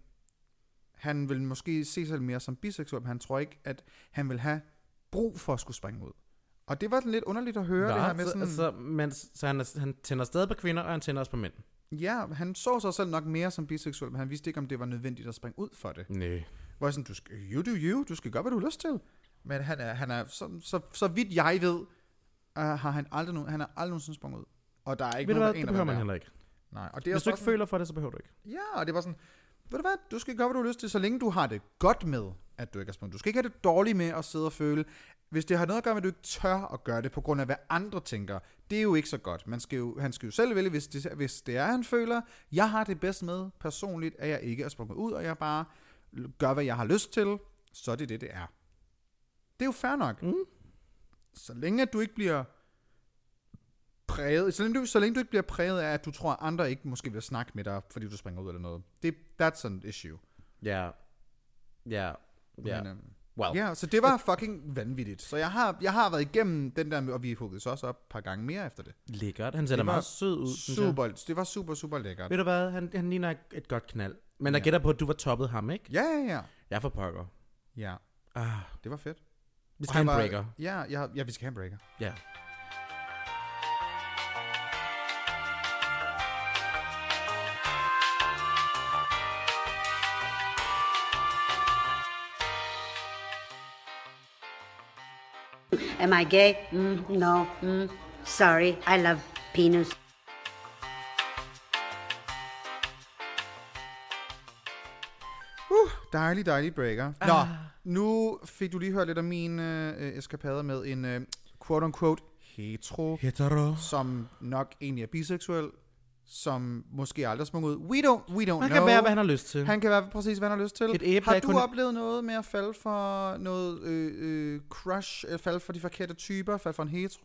Speaker 2: han vil måske se sig selv mere som biseksuel, men han tror ikke, at han vil have brug for at skulle springe ud. Og det var sådan lidt underligt at høre, det her med sådan...
Speaker 1: Så, så, men, så han, er- han tænder stadig på kvinder, og han tænder også på mænd.
Speaker 2: Ja, han så sig selv nok mere som biseksuel, men han vidste ikke, om det var nødvendigt at springe ud for det.
Speaker 1: Nej.
Speaker 2: Hvor jeg sådan, du skal, you do you, du skal gøre, hvad du har lyst til. Men han er, han er så, så, så vidt jeg ved, uh, har han aldrig, nogen, han er aldrig nogensinde sprunget ud. Og der er ikke
Speaker 1: Ved du hvad, det
Speaker 2: nogen, der aner,
Speaker 1: behøver man
Speaker 2: hvem
Speaker 1: heller
Speaker 2: det
Speaker 1: ikke.
Speaker 2: er. Nej, og det er
Speaker 1: Hvis du
Speaker 2: også
Speaker 1: ikke føler for det, så behøver du ikke.
Speaker 2: sådan- Ja, og det var sådan, ved du hvad, du skal gøre, hvad du har lyst til, så længe du har det godt med, at du ikke er sprunget. Du skal ikke have det dårligt med at sidde og føle, hvis det har noget at gøre med, at du ikke tør at gøre det, på grund af, hvad andre tænker, det er jo ikke så godt. Man skal jo, han skal jo selv vælge, hvis det, hvis det er, han føler, jeg har det bedst med personligt, at jeg ikke er sprunget ud, og jeg bare gør, hvad jeg har lyst til, så er det det, det er. Det er jo fair nok. Mm. Så længe at du ikke bliver præget, så længe, du, så længe du ikke bliver præget af, at du tror, at andre ikke måske vil snakke med dig, fordi du springer ud eller noget. Det, that's an issue.
Speaker 1: Ja. Ja. Ja.
Speaker 2: Men, øhm,
Speaker 1: Well.
Speaker 2: Ja, så det var fucking vanvittigt. Så jeg har, jeg har været igennem den der, og vi huggede så også op et par gange mere efter det.
Speaker 1: Lækkert. Han ser da meget sød ud, synes jeg.
Speaker 2: Super, det var super, super lækkert.
Speaker 1: Ved du hvad, han, han ligner et- et godt knald. Men jeg gætter på, at du var toppet ham, ikke?
Speaker 2: Ja, ja, ja.
Speaker 1: Jeg er for pokker.
Speaker 2: Ja,
Speaker 1: Ah,
Speaker 2: det var fedt.
Speaker 1: vi
Speaker 2: Og
Speaker 1: skal
Speaker 2: han
Speaker 1: have
Speaker 2: var-
Speaker 1: en breaker.
Speaker 2: Ja, ja, ja, vi skal have en breaker.
Speaker 1: Ja.
Speaker 3: Am I gay? Mm, no. Mm, sorry, I love penis.
Speaker 2: Uh, dejlig, dejlig breaker. Ah. Nå, nu fik du lige hørt lidt af mine øh, eskapader med en øh, quote-unquote hetero,
Speaker 1: Hetero.
Speaker 2: som nok egentlig er biseksuel, som måske aldrig smukker ud. We don't, we don't
Speaker 1: Han
Speaker 2: know.
Speaker 1: kan være, hvad han har lyst til.
Speaker 2: Han kan være præcis, hvad han har lyst til.
Speaker 1: Et æble,
Speaker 2: har
Speaker 1: der
Speaker 2: du
Speaker 1: kun-
Speaker 2: oplevet noget med at falde for noget øh, øh, crush, øh, falde for de forkerte typer, falde for en hetero?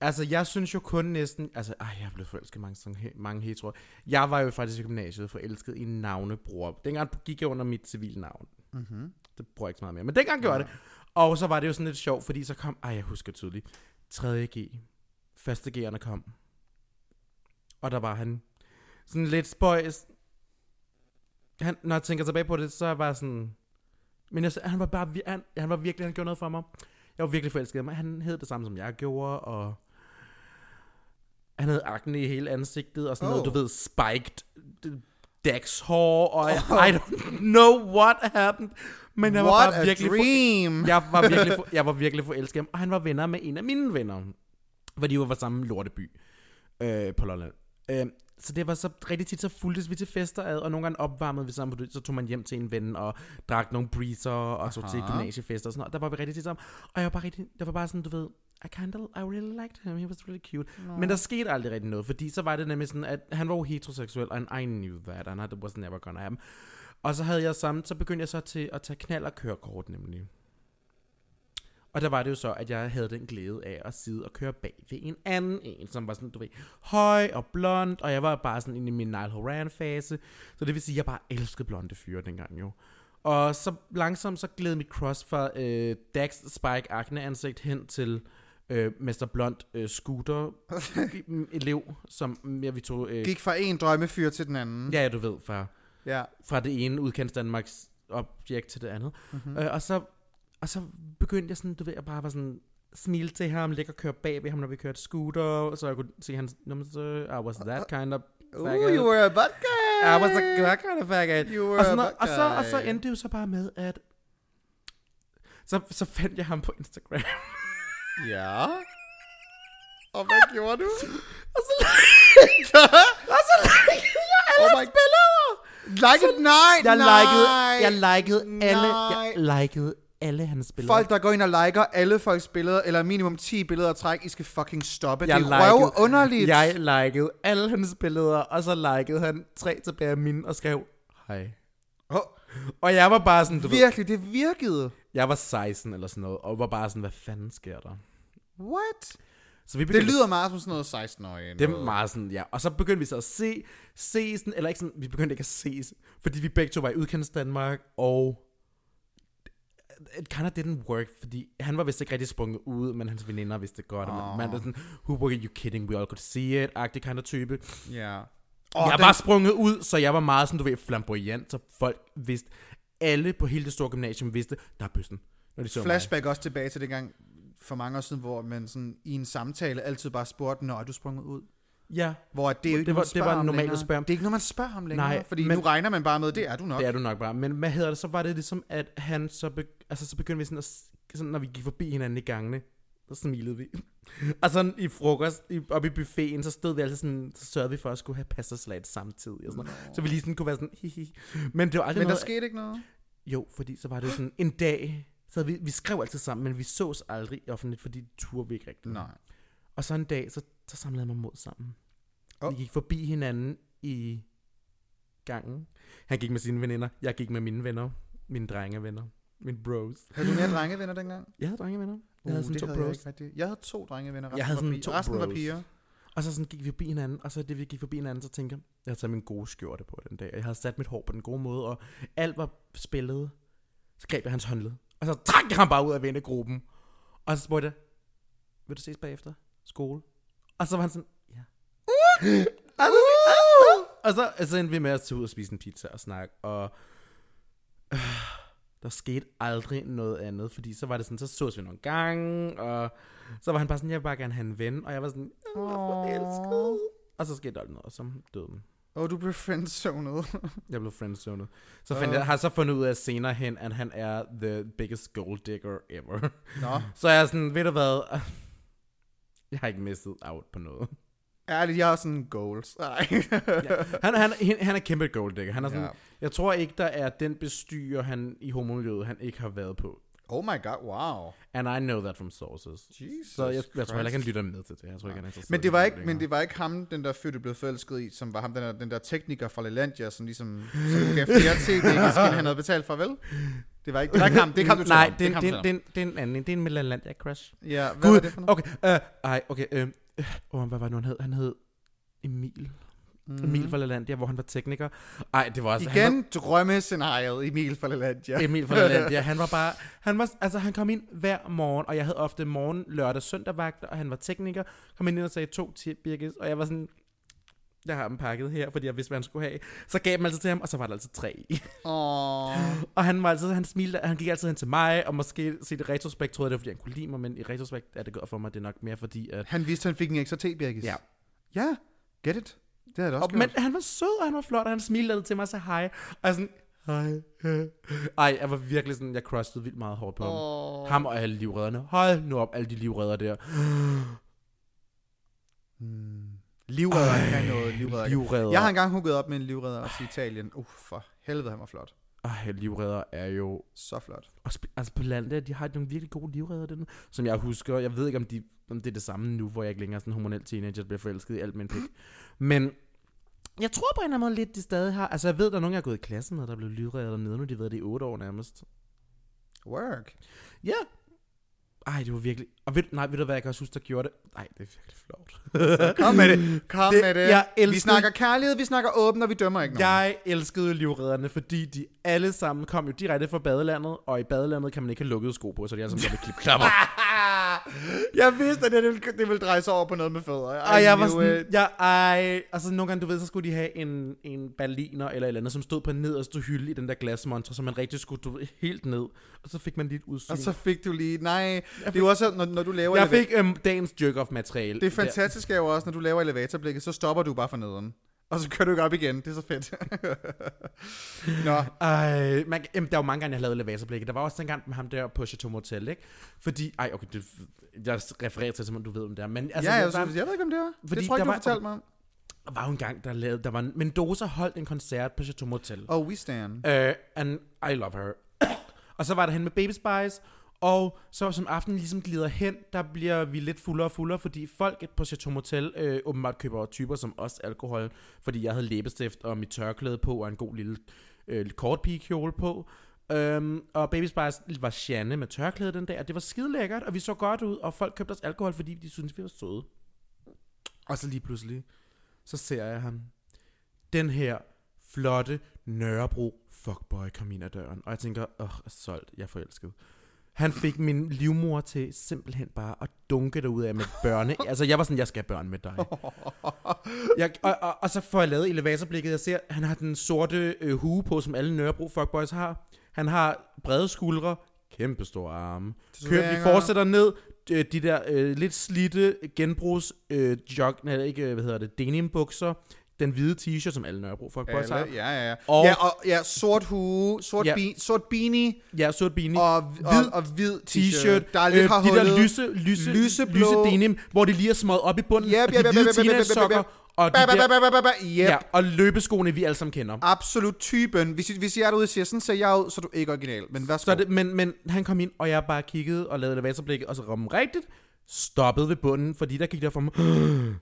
Speaker 1: Altså, jeg synes jo kun næsten... Altså, ej, jeg er blevet forelsket i mange, sådan he- mange heteroer. Jeg var jo faktisk i gymnasiet forelsket i en navnebror. Dengang gik jeg under mit civilnavn. Mm-hmm. Det bruger jeg ikke så meget mere. Men dengang gjorde jeg det. Og så var det jo sådan lidt sjovt, fordi så kom... Ej, jeg husker tydeligt. 3.G. 1.G'erne kom. Og der var han sådan lidt spøjs. Han, når jeg tænker tilbage på det, så var jeg sådan... Men jeg, han var bare vir- han, han var virkelig, han gjorde noget for mig. Jeg var virkelig forelsket i ham. Han hed det samme, som jeg gjorde, og... Han havde akne i hele ansigtet, og sådan oh.
Speaker 2: Oh.
Speaker 1: noget, du ved, spiked øh, dagshår, og jeg, I don't know what happened. Men jeg var
Speaker 2: What
Speaker 1: bare
Speaker 2: a
Speaker 1: virkelig... for-
Speaker 2: dream!
Speaker 1: jeg var virkelig, for, jeg var virkelig forelsket i ham, og han var venner med en af mine venner, fordi de var fra samme lorteby øh, på Lolland. Øh, så det var så rigtig tit, så fulgtes vi til fester ad, og nogle gange opvarmede vi sammen på det, så tog man hjem til en ven og drak nogle breezer og så til gymnasiefester og sådan noget. Der var vi rigtig tit sammen, og jeg var bare rigtig, der var bare sådan, du ved, I kind of, I really liked him, he was really cute. No. Men der skete aldrig rigtig noget, fordi så var det nemlig sådan, at han var jo heteroseksuel, and I knew that, and it was never gonna happen. Og så havde jeg sammen, så begyndte jeg så til at tage knald og kørekort nemlig. Og der var det jo så, at jeg havde den glæde af at sidde og køre bag ved en anden en, som var sådan, du ved, høj og blond, og jeg var bare sådan inde i min Nile Horan-fase. Så det vil sige, at jeg bare elskede blonde fyre dengang jo. Og så langsomt så gled mit cross fra øh, Dax Spike Akne ansigt hen til øh, Mester Blond øh, Scooter elev, som ja, vi tog... Øh,
Speaker 2: Gik fra en drømmefyr til den anden.
Speaker 1: ja, ja, du ved, far
Speaker 2: Ja.
Speaker 1: fra det ene udkants Danmarks objekt til det andet.
Speaker 2: Mhm.
Speaker 1: Mm-hmm. Øh, og, så, og så begyndte jeg sådan, du ved, at bare var sådan, smile til ham, ligge og køre bag ved ham, når vi kørte scooter, så jeg kunne se hans numse, I was that kind of
Speaker 2: Ooh, you were a butt guy!
Speaker 1: I was a that kind of faggot.
Speaker 2: You were
Speaker 1: og, sådan
Speaker 2: a
Speaker 1: noget, og, så, og så
Speaker 2: buckeye.
Speaker 1: endte det jo så bare med, at så, så fandt jeg ham på Instagram.
Speaker 2: Ja. Og hvad gjorde du?
Speaker 1: og så likede jeg, og så likede jeg alle
Speaker 2: Oh
Speaker 1: oh
Speaker 2: my-
Speaker 1: hans billeder.
Speaker 2: Like it? Nej,
Speaker 1: Jeg
Speaker 2: nej.
Speaker 1: likede, jeg likede alle,
Speaker 2: Nej.
Speaker 1: jeg likede alle hans billeder.
Speaker 2: Folk, der går ind og liker alle folks billeder, eller minimum 10 billeder at trække, I skal fucking stoppe.
Speaker 1: jeg
Speaker 2: det er
Speaker 1: likede,
Speaker 2: røv underligt.
Speaker 1: Jeg likede alle hans billeder, og så likede han tre tilbage af mine og skrev, hej.
Speaker 2: Åh,
Speaker 1: Og jeg var bare sådan, du ved,
Speaker 2: virkelig, det virkede.
Speaker 1: jeg var 16 eller sådan noget, og var bare sådan, hvad fanden sker der?
Speaker 2: What?
Speaker 1: Så vi
Speaker 2: Det
Speaker 1: begyndte-
Speaker 2: lyder meget som sådan noget 16-årige.
Speaker 1: Det er
Speaker 2: noget.
Speaker 1: meget sådan, ja. Og så begyndte vi så at se, se sådan, eller ikke sådan, vi begyndte ikke at ses, fordi vi begge to var i udkants Danmark, og it kind of didn't work, fordi han var vist ikke rigtig sprunget ud, men hans veninder vidste det godt, oh. og man, man var sådan, who were you kidding, we all could see it, agtig kind of type.
Speaker 2: Ja.
Speaker 1: Og
Speaker 2: Og
Speaker 1: jeg
Speaker 2: den-
Speaker 1: var sprunget ud, så jeg var meget sådan, du ved, flamboyant, så folk vidste, alle på hele det store gymnasium vidste, der er bøssen. Når de så
Speaker 2: Flashback også tilbage til dengang for mange år siden, hvor man sådan i en samtale altid bare spurgte, når er du sprunget ud?
Speaker 1: Mig. Ja,
Speaker 2: Hvor det er jo ikke
Speaker 1: Det var-
Speaker 2: noget, man
Speaker 1: det var
Speaker 2: spørger om
Speaker 1: normalt at
Speaker 2: længere.
Speaker 1: spørge om.
Speaker 2: Det er ikke noget, man spørger om længere.
Speaker 1: Nej,
Speaker 2: fordi
Speaker 1: men-
Speaker 2: nu regner man bare med, det er du nok.
Speaker 1: Det er du nok bare. Men hvad hedder det? Så var det ligesom, at han så... Be- altså, så begyndte vi sådan at... s- Sådan, når vi gik forbi hinanden i gangene, så smilede vi. og sådan i frokost, i, oppe i buffeten, så stod vi altså sådan... Så sørgede vi for at skulle have passerslat samtidig. Og sådan noget. Så vi lige sådan kunne være sådan... Hihi. Men det var aldrig
Speaker 2: Men der
Speaker 1: noget...
Speaker 2: skete ikke noget.
Speaker 1: Jo, fordi så var det jo sådan en dag... Så havde vi, vi skrev altid sammen, men vi sås aldrig offentligt, fordi det turde vi ikke rigtigt.
Speaker 2: Nej.
Speaker 1: Og så en dag, så, så samlede jeg mig mod sammen. Oh.
Speaker 2: Åh.
Speaker 1: Vi gik forbi hinanden i gangen. Han gik med sine veninder, jeg gik med mine venner. Mine drengevenner. Mine bros.
Speaker 2: Havde du mere drengevenner dengang?
Speaker 1: Jeg havde drengevenner. Jeg havde sådan
Speaker 2: Uh, det
Speaker 1: to
Speaker 2: jeg,
Speaker 1: bros.
Speaker 2: ikke rigtig. jeg havde to drengevenner. Resten
Speaker 1: Jeg havde
Speaker 2: var
Speaker 1: sådan
Speaker 2: piger.
Speaker 1: to
Speaker 2: Resten var
Speaker 1: bros.
Speaker 2: piger.
Speaker 1: Og så sådan gik vi forbi hinanden, og så det vi gik forbi hinanden, så tænkte jeg, jeg havde taget min gode skjorte på den dag, og jeg havde sat mit hår på den gode måde, og alt var spillet. Så greb jeg hans håndled, og så trak jeg ham bare ud af vennegruppen. Og så spurgte jeg, vil du ses bagefter? Skole? Og så var han sådan, ja. Uh! Og, så, og så, og så endte vi med at tage ud og spise en pizza og snakke, og øh, der skete aldrig noget andet, fordi så var det sådan, så sås vi nogle gange, og så var han bare sådan, jeg vil bare gerne have en ven, og jeg var sådan, jeg var forelsket. Og så skete der aldrig noget, og så døde den.
Speaker 2: Og du blev friendzonet.
Speaker 1: Jeg blev friendzonet. Så fandt jeg, har jeg så fundet ud af senere hen, at han er the biggest gold digger ever.
Speaker 2: Nå.
Speaker 1: Så jeg er sådan, ved du hvad, jeg har ikke mistet out på noget.
Speaker 2: Ærligt, jeg har sådan goals. Nej. ja.
Speaker 1: Han, han, han- han er kæmpe gold digger. Han er sådan,
Speaker 2: Ja.
Speaker 1: Jeg tror ikke, der er den bestyrer han i homomiljøet, han ikke har været på.
Speaker 2: Oh my god, wow.
Speaker 1: And I know that from sources.
Speaker 2: Jesus
Speaker 1: så jeg, jeg tror heller ikke, han
Speaker 2: Christ.
Speaker 1: lytter med til det. Jeg tror ikke, han er interesseret
Speaker 2: Men
Speaker 1: i
Speaker 2: det, var
Speaker 1: det
Speaker 2: ikke, men
Speaker 1: længere.
Speaker 2: det var ikke ham, den der fødte blev forelsket i, som var ham, den der, den der tekniker fra Lelandia, som ligesom som gav flere tv skin han havde betalt for, vel? Det var ikke, det var ikke ham, det er ikke ham, du taler
Speaker 1: Nej,
Speaker 2: om.
Speaker 1: det,
Speaker 2: er
Speaker 1: det,
Speaker 2: ikke
Speaker 1: det,
Speaker 2: ham, du taler om.
Speaker 1: det, det er en anden. Det er en Melanlandia crush.
Speaker 2: Ja, hvad var
Speaker 1: Gud,
Speaker 2: det for noget?
Speaker 1: okay. Øh, ej, okay. Øh, oh, hvad var det nu, han hed? Han hed Emil. Mm. Emil fra Lalandia, hvor han var tekniker. Ej, det var altså... han var-
Speaker 2: Igen drømmescenariet Emil fra Lelandia.
Speaker 1: Emil fra Lalandia, han var bare, han var, altså han kom ind hver morgen, og jeg havde ofte morgen, lørdag, søndag vagter, og han var tekniker, kom ind og sagde to tip, Birgis, og jeg var sådan, jeg har dem pakket her, fordi jeg vidste, hvad han skulle have. Så gav jeg dem altid til ham, og så var der altid tre i.
Speaker 2: Åh,
Speaker 1: Og han var altid, han smilte, han gik altid hen til mig, og måske set i retrospekt troede jeg, det var, fordi han kunne lide mig, men i retrospekt er det godt for mig, det er nok mere fordi, at...
Speaker 2: han vidste, han fik en ekstra te, Birgis.
Speaker 1: Ja.
Speaker 2: Ja, get it. Det havde jeg da også
Speaker 1: Og,
Speaker 2: og,
Speaker 1: men
Speaker 2: gjort.
Speaker 1: han var sød, og han var flot, og han smilte altid til mig og sagde hej. Og jeg sådan, hej. Ej, jeg var virkelig sådan, jeg crushede vildt meget hårdt på ham. Oh. Ham og alle livredderne. Hold nu op, alle de livredder der.
Speaker 2: Livredder Mm. kan noget. Livredder. kan-
Speaker 1: livredder.
Speaker 2: Jeg har engang hugget op med en livredder også i Italien. Uh, for helvede, han var flot.
Speaker 1: Ej, livredder er jo...
Speaker 2: Så flot.
Speaker 1: Og sp- altså på landet, der, de har nogle virkelig gode livredder den, som jeg husker. Jeg ved ikke, om, de, om det er det samme nu, hvor jeg ikke længere er sådan en hormonel teenager, der bliver forelsket i alt med en pik. Men jeg tror på en eller anden måde lidt, de stadig har... Altså jeg ved, der er nogen, jeg har gået i klasse med, der blev livredder dernede nu. De har været det i otte år nærmest.
Speaker 2: Work.
Speaker 1: Ja. Ej, det var virkelig... Og ved, nej, ved du hvad, jeg kan også huske, der gjorde det? Nej, det er virkelig flot.
Speaker 2: Kom med det. Kom
Speaker 1: Det-
Speaker 2: med det.
Speaker 1: jeg
Speaker 2: Vi
Speaker 1: elskede-
Speaker 2: snakker kærlighed, vi snakker åben, og vi dømmer ikke nogen.
Speaker 1: Jeg elskede livredderne, fordi de alle sammen kom jo direkte fra badelandet, og i badelandet kan man ikke have lukkede sko på, så altså de alle sammen kom med klipklapper.
Speaker 2: jeg vidste, at det ville, det ville dreje sig over på noget med fødder.
Speaker 1: Og jeg var
Speaker 2: knew
Speaker 1: sådan,
Speaker 2: it.
Speaker 1: jeg, ej, altså nogle gange, du ved, så skulle de have en, en berliner eller et eller andet, som stod på en nederste hylde i den der glasmontre, så man rigtig skulle du, ved, helt ned, og så fik man lidt udsyn.
Speaker 2: øh, Og så fik du lige... Nej, det er jo også, når, når du laver...
Speaker 1: jeg
Speaker 2: eleva-
Speaker 1: fik øhm, dagens jerk-off-materiale.
Speaker 2: Det fantastiske er jo også, når du laver elevatorblikket, så stopper du bare for neden. Og så kører du ikke op igen. Det er så fedt. Nå,
Speaker 1: Ej, man, jamen, der var mange gange, jeg lavede elevatorblikket. Der var også dengang med ham der på Chateau Motel, ikke? Fordi, ej, okay, det, jeg refererer til, som om du ved, om det er. Men, altså,
Speaker 2: ja, jeg,
Speaker 1: det var,
Speaker 2: synes, jeg ved ikke, om det var.
Speaker 1: Fordi
Speaker 2: det tror jeg
Speaker 1: der
Speaker 2: ikke, du
Speaker 1: var-
Speaker 2: fortalte mig om.
Speaker 1: der var jo en gang, der lavede, der var en, Mendoza holdt en koncert på Chateau Motel.
Speaker 2: Og oh, We Stand.
Speaker 1: Uh, and I love her. og så var der han med Baby Spice, og så som aftenen ligesom glider hen, der bliver vi lidt fuldere og fuldere, fordi folk på Chateau Motel øh, åbenbart køber typer som os alkohol, fordi jeg havde læbestift og mit tørklæde på, og en god lille øh, kort pigekjole på. Um, og Baby Spice var Shanne med tørklæde den dag, og det var skide lækkert, og vi så godt ud, og folk købte os alkohol, fordi de syntes, vi var søde. Og så lige pludselig, så ser jeg ham den her flotte Nørrebro fuckboy kom ind ad døren, og jeg tænker, åh, oh, solgt, jeg er forelsket. Han fik min livmor til simpelthen bare at dunke derud af med børne. Altså, jeg var sådan, jeg skal have børn med dig. Jeg, og, og, og, så får jeg lavet elevatorblikket. Jeg ser, han har den sorte øh, hue på, som alle Nørrebro fuckboys har. Han har brede skuldre, kæmpe store arme. Kører, vi
Speaker 2: Tatoveringer.
Speaker 1: fortsætter ned. øh, De der øh, lidt slitte genbrugs øh, jog, nej, ikke, øh, hvad hedder det, denim bukser. Den hvide t-shirt, som alle Nørrebro fuckboys har.
Speaker 2: Alle, ja, ja, ja.
Speaker 1: Og-
Speaker 2: Og, ja, og ja, sort hue, sort,
Speaker 1: Ja.
Speaker 2: ja. Be, sort beanie
Speaker 1: Ja, sort beanie.
Speaker 2: og, hvid, og, og hvid
Speaker 1: t-shirt,
Speaker 2: Der er lidt øh,
Speaker 1: øh, de der lyse, lyse, lyseblå.
Speaker 2: lyseblå-
Speaker 1: lyse denim, hvor det lige er smadret op i bunden,
Speaker 2: Yep,
Speaker 1: og de
Speaker 2: yep, yep,
Speaker 1: hvide
Speaker 2: yep, yep, yep, yep, yep.
Speaker 1: teenage-sokker, og de
Speaker 2: Ba, ba, ba, Ah.
Speaker 1: der,
Speaker 2: ba, ba, ba, yep.
Speaker 1: ja, og løbeskoene, vi alle sammen kender.
Speaker 2: Absolut typen. Hvis, I- hvis I er derude og siger, sådan ser jeg ud, så er du ikke original. Men værsgo.
Speaker 1: Så er det, men, men han kom ind, og jeg bare kiggede og lavede elevatorblikket, og så ramte rigtigt, stoppede ved bunden, fordi der gik der for mig,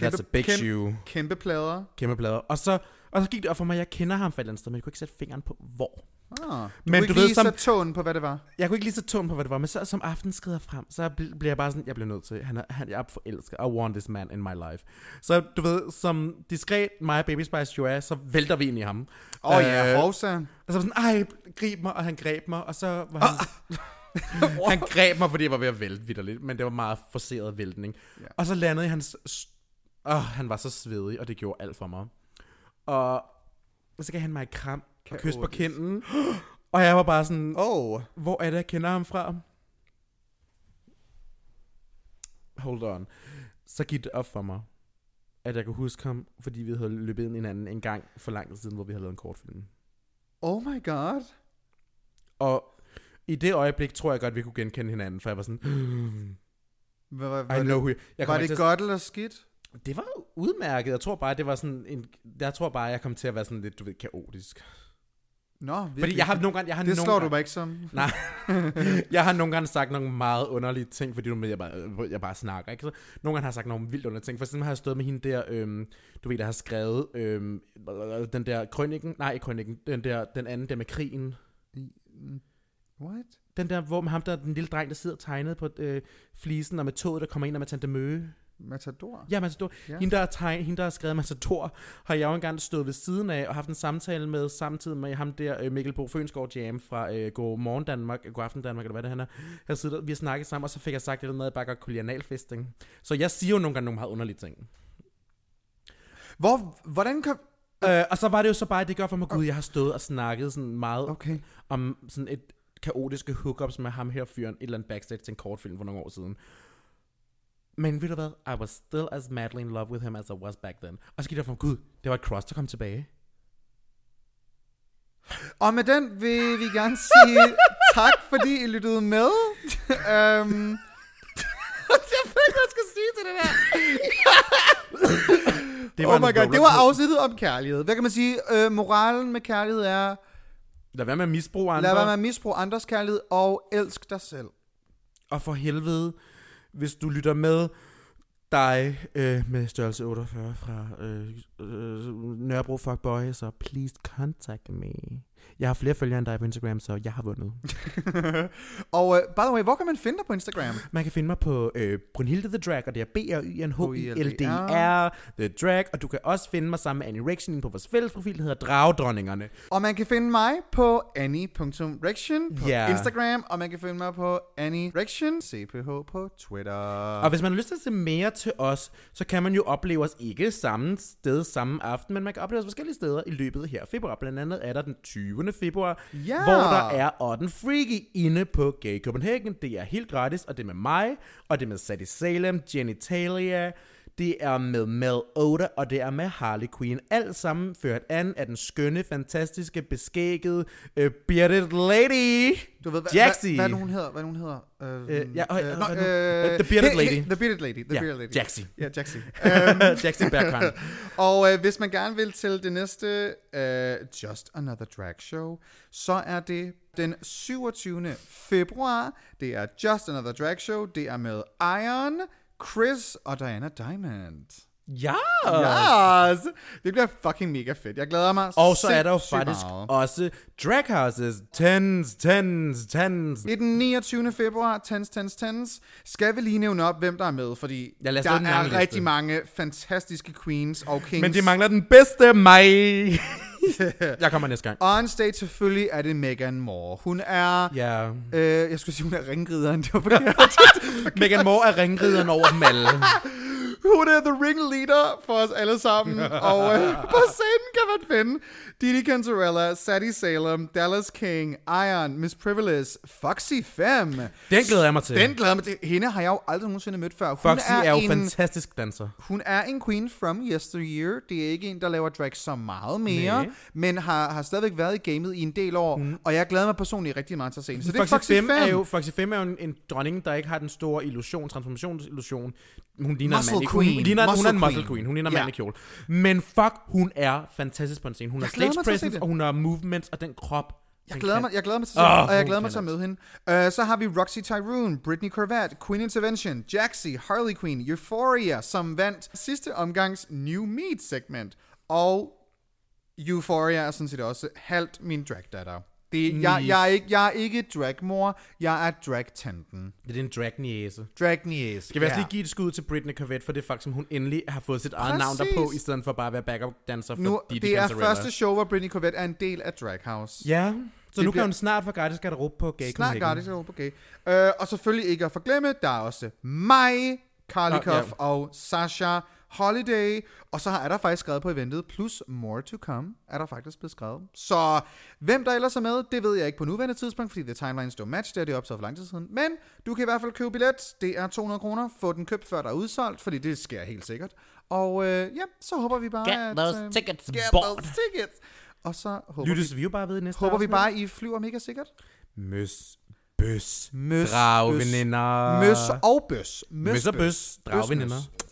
Speaker 1: that's a big
Speaker 2: kæmpe,
Speaker 1: shoe,
Speaker 2: Kæmpe plader.
Speaker 1: kæmpe plader. Og så, og så gik det op for mig, jeg kender ham fra et eller andet sted, men jeg kunne ikke sætte fingeren på, hvor.
Speaker 2: Ah, du
Speaker 1: Men
Speaker 2: men
Speaker 1: du ved,
Speaker 2: ikke du lige
Speaker 1: som-
Speaker 2: ved, så tåen på, hvad det var.
Speaker 1: Jeg kunne ikke lige så tungt på, hvad det var, men så som aftenen skrider frem, så bl- bliver jeg bare sådan, jeg bliver nødt til, han er, han, jeg er forelsket, I want this man in my life. Så du ved, som diskret mig og Baby Spice jo er, så vælter vi ind i ham.
Speaker 2: Åh oh,
Speaker 1: Øh.
Speaker 2: ja, Rosa.
Speaker 1: Og så var sådan, ej, grib mig, og han greb mig, og så var han... han greb mig, fordi jeg var ved at vælte vidderligt, men det var meget forceret væltning. Ja. Og så landede jeg i hans... Åh, oh, han var så svedig, og det gjorde alt for mig. Og så gav han mig et kram og kys på kinden. Og jeg var bare sådan,
Speaker 2: Åh. Oh.
Speaker 1: hvor er det, jeg kender ham fra? Hold on. Så gik det op for mig, at jeg kunne huske ham, fordi vi havde løbet ind i hinanden en gang for lang tid siden, hvor vi havde lavet en kortfilm.
Speaker 2: oh my god.
Speaker 1: Og i det øjeblik tror jeg godt, vi kunne genkende hinanden, for jeg var sådan,
Speaker 2: Hvad, hvad,
Speaker 1: I
Speaker 2: var
Speaker 1: know who you...
Speaker 2: det,
Speaker 1: Jeg
Speaker 2: var
Speaker 1: ikke
Speaker 2: det
Speaker 1: til at-
Speaker 2: godt eller skidt?
Speaker 1: Det var udmærket. Jeg tror bare, det var sådan en... Jeg tror bare, jeg kom til at være sådan lidt, du ved, kaotisk.
Speaker 2: Nå, virkelig.
Speaker 1: Fordi jeg har nogle gange... Jeg har
Speaker 2: det
Speaker 1: nogle
Speaker 2: slår
Speaker 1: gange,
Speaker 2: du mig ikke som.
Speaker 1: Nej. jeg har nogle gange sagt nogle meget underlige ting, fordi du med, jeg bare, øh, jeg bare snakker, ikke? Så nogle gange har jeg sagt nogle vildt underlige ting. For eksempel har jeg stået med hende der, øhm, du ved, der har skrevet øhm, den der krønningen, nej, ikke krønningen, den der, den anden der med krigen.
Speaker 2: What?
Speaker 1: Den der, hvor med ham der, den lille dreng, der sidder tegnet på øh, flisen, og med toget, der kommer ind og med Tante Møge.
Speaker 2: Matador?
Speaker 1: Ja, Matador.
Speaker 2: Ja.
Speaker 1: Ja. Hende, der har tegn, hende, der har skrevet Matador, har jeg jo engang stået ved siden af og haft en samtale med, samtidig med ham der, øh, Mikkel Bo Fønsgaard Jam fra øh, God Morgen Danmark, God Aften Danmark, eller hvad det han er. Jeg sidder, vi har snakket sammen, og så fik jeg sagt det der med, at jeg bare gør kolonialfesting. Så jeg siger jo nogle gange nogle meget underlige ting.
Speaker 2: Hvor, hvordan kom...
Speaker 1: Øh, og så var det jo så bare, at det gør for mig, gud, jeg har stået og snakket sådan meget
Speaker 2: Okay.
Speaker 1: om sådan et kaotiske hookups med ham her fyren, et eller andet backstage til en kortfilm for nogle år siden. Men ved du hvad? I was still as madly in love with him as I was back then. Og så gik jeg fra, gud, det var et cross, der kom tilbage.
Speaker 2: Og med den vil vi gerne sige tak, fordi I lyttede med. um, jeg ved ikke, hvad jeg skal sige til det der.
Speaker 1: Det
Speaker 2: Oh
Speaker 1: en
Speaker 2: my god, det var
Speaker 1: rollercoaster.
Speaker 2: afsnittet om kærlighed. Hvad kan man sige? Øh, moralen med kærlighed er,
Speaker 1: Lad være med at misbruge andre.
Speaker 2: lad være med at misbruge andres kærlighed, og elsk dig selv.
Speaker 1: Og for helvede, hvis du lytter med dig øh, med størrelse 48 fra øh, øh, Nørrebro Fuckboy, så please contact me. Jeg har flere følgere end dig på Instagram, så jeg har vundet.
Speaker 2: og uh, by the way, hvor kan man finde dig på Instagram?
Speaker 1: Man kan finde mig på øh, Brunhilde The Drag, og det er b r y n h i l d
Speaker 2: H-I-L-D-R.
Speaker 1: r The Drag, og du kan også finde mig sammen med Annie Rection på vores fælles profil, der hedder Dragdronningerne.
Speaker 2: Og man kan finde mig på annie.rection på
Speaker 1: Ja.
Speaker 2: Instagram, og man kan finde mig på annie.rection cph på Twitter.
Speaker 1: Og hvis man har lyst til at se mere til os, så kan man jo opleve os ikke samme sted samme aften, men man kan opleve os forskellige steder i løbet her af februar. Blandt andet er der den 20. februar,
Speaker 2: Ja!
Speaker 1: hvor der er Odden Freaky inde på Gay Copenhagen. Det er helt gratis, og det er med mig, og det er med Sadie Salem, Genitalia, det er med Mel Oda, og det er med Harley Quinn. Alt sammen ført an af den skønne, fantastiske, beskækkede, uh, bearded lady,
Speaker 2: Du ved, hvad,
Speaker 1: Jaxi.
Speaker 2: hvad, hvad, er det, hun hedder? Hvad er det, hun hedder? Øh,
Speaker 1: Øh, ja, øh,
Speaker 2: nå,
Speaker 1: øh, øh, The Bearded
Speaker 2: he-
Speaker 1: Lady.
Speaker 2: he- The Bearded Lady. The
Speaker 1: Ja,
Speaker 2: Bearded Lady.
Speaker 1: Jaxi.
Speaker 2: Ja, Jaxi. Øhm,
Speaker 1: Jackson Bergkamp.
Speaker 2: og øh, hvis man gerne vil til det næste øh, Just Another Drag Show, så er det den 27. februar. Det er Just Another Drag Show. Det er med Iron, Chris og Diana Diamond.
Speaker 1: Ja!
Speaker 2: Yes! Det bliver fucking mega fedt. Jeg glæder mig
Speaker 1: Ah. Og så er der jo
Speaker 2: sindssygt
Speaker 1: faktisk
Speaker 2: meget.
Speaker 1: også drag houses. Tens, tens, tens.
Speaker 2: Det er den 29. februar, tens, tens, tens. Skal vi lige nævne op, hvem der er med, fordi
Speaker 1: Ja, lad os
Speaker 2: der
Speaker 1: lave den lange
Speaker 2: er
Speaker 1: liste.
Speaker 2: rigtig mange fantastiske queens og kings.
Speaker 1: Men de mangler den bedste mig. jeg kommer næste gang.
Speaker 2: On stage selvfølgelig er det Megan Moore. Hun er...
Speaker 1: Ja.
Speaker 2: Øh, jeg skulle sige, hun er ringrideren. Det var forkert.
Speaker 1: Megan Moore er ringrideren over dem alle.
Speaker 2: hun er the ringleader for os alle sammen. og øh, på scenen kan man finde Didi Cantarella, Sadie Salem, Dallas King, Ion, Miss Privilege, Foxy Femme.
Speaker 1: Den glæder jeg mig til.
Speaker 2: Den glæder jeg mig til. Hende har jeg jo aldrig nogensinde mødt før. Hun
Speaker 1: Foxy er, jo
Speaker 2: en,
Speaker 1: fantastisk danser.
Speaker 2: Hun er en queen from yesteryear. Det er ikke en, der laver drag så meget mere,
Speaker 1: Næ.
Speaker 2: men har, har stadigvæk været i gamet i en del år, mm. og jeg glæder mig personligt rigtig meget til at se hende. Så det er
Speaker 1: Foxy,
Speaker 2: Foxy
Speaker 1: 5
Speaker 2: Femme.
Speaker 1: er jo, Foxy 5 er jo en, en dronning, der ikke har den store illusion, transformationsillusion. Hun ligner en
Speaker 2: Muscle
Speaker 1: mand. ikke? Hun,
Speaker 2: queen.
Speaker 1: hun, ligner, hun er
Speaker 2: Muscle
Speaker 1: en muscle
Speaker 2: queen.
Speaker 1: queen. Hun ligner en
Speaker 2: Ja.
Speaker 1: mand i kjole. Men fuck, hun er fantastisk på en scene. Hun har
Speaker 2: glæder mig til
Speaker 1: stage
Speaker 2: at se
Speaker 1: presence,
Speaker 2: det.
Speaker 1: og hun har movements, og den krop.
Speaker 2: Jeg
Speaker 1: den
Speaker 2: glæder,
Speaker 1: kan-
Speaker 2: mig, jeg glæder mig til at
Speaker 1: Åh,
Speaker 2: se hende, og jeg
Speaker 1: hun
Speaker 2: glæder mig til at
Speaker 1: kan
Speaker 2: møde hende. Uh, så har vi Roxy Tyrone, Britney Corvette, Queen Intervention, Jaxi, Harley Quinn, Euphoria, som vandt sidste omgangs New Meat segment. Og Euphoria er sådan set også halvt min dragdatter. Det, jeg, jeg, er ikke, jeg er ikke dragmor, jeg er dragtanten.
Speaker 1: Det er en drag-niæse.
Speaker 2: Dragnies.
Speaker 1: Skal vi også lige give et skud til Britney Corvette, for det faktisk, som hun endelig har fået sit eget navn
Speaker 2: Præcis.
Speaker 1: derpå, i stedet for bare at være backup-danser for
Speaker 2: nu,
Speaker 1: Didi
Speaker 2: det er
Speaker 1: Cantarella.
Speaker 2: første show, hvor Britney Corvette er en del af Drag House.
Speaker 1: Ja, så nu
Speaker 2: bliver-
Speaker 1: kan hun snart få gratis garderobe på Gay
Speaker 2: Snart
Speaker 1: Copenhagen.
Speaker 2: gratis og okay. Øh, og selvfølgelig ikke at forglemme, der er også mig, Karlikov
Speaker 1: Nå,
Speaker 2: ja. og Sasha Holiday. Og så er der faktisk skrevet på eventet, plus more to come, er der faktisk blevet skrevet. Så hvem der ellers er med, det ved jeg ikke på nuværende tidspunkt, fordi det er timelines don't match, det er det optaget for lang tid siden. Men du kan i hvert fald købe billet, det er 200 kroner, få den købt før der er udsolgt, fordi det sker helt sikkert. Og øh, ja, så håber vi bare,
Speaker 8: Get
Speaker 2: at...
Speaker 8: those
Speaker 2: øh,
Speaker 8: tickets
Speaker 2: get
Speaker 8: bought.
Speaker 2: those tickets! Og så håber, vi,
Speaker 1: Lyttes vi jo bare ved i næste
Speaker 2: håber vi
Speaker 1: afsnit.
Speaker 2: bare, I flyver mega sikkert.
Speaker 1: Møs, bøs,
Speaker 2: Møs,
Speaker 1: drag,
Speaker 2: bøs.
Speaker 1: veninder.
Speaker 2: Møs og bøs. Møs,
Speaker 1: Møs og bøs, drag, veninder.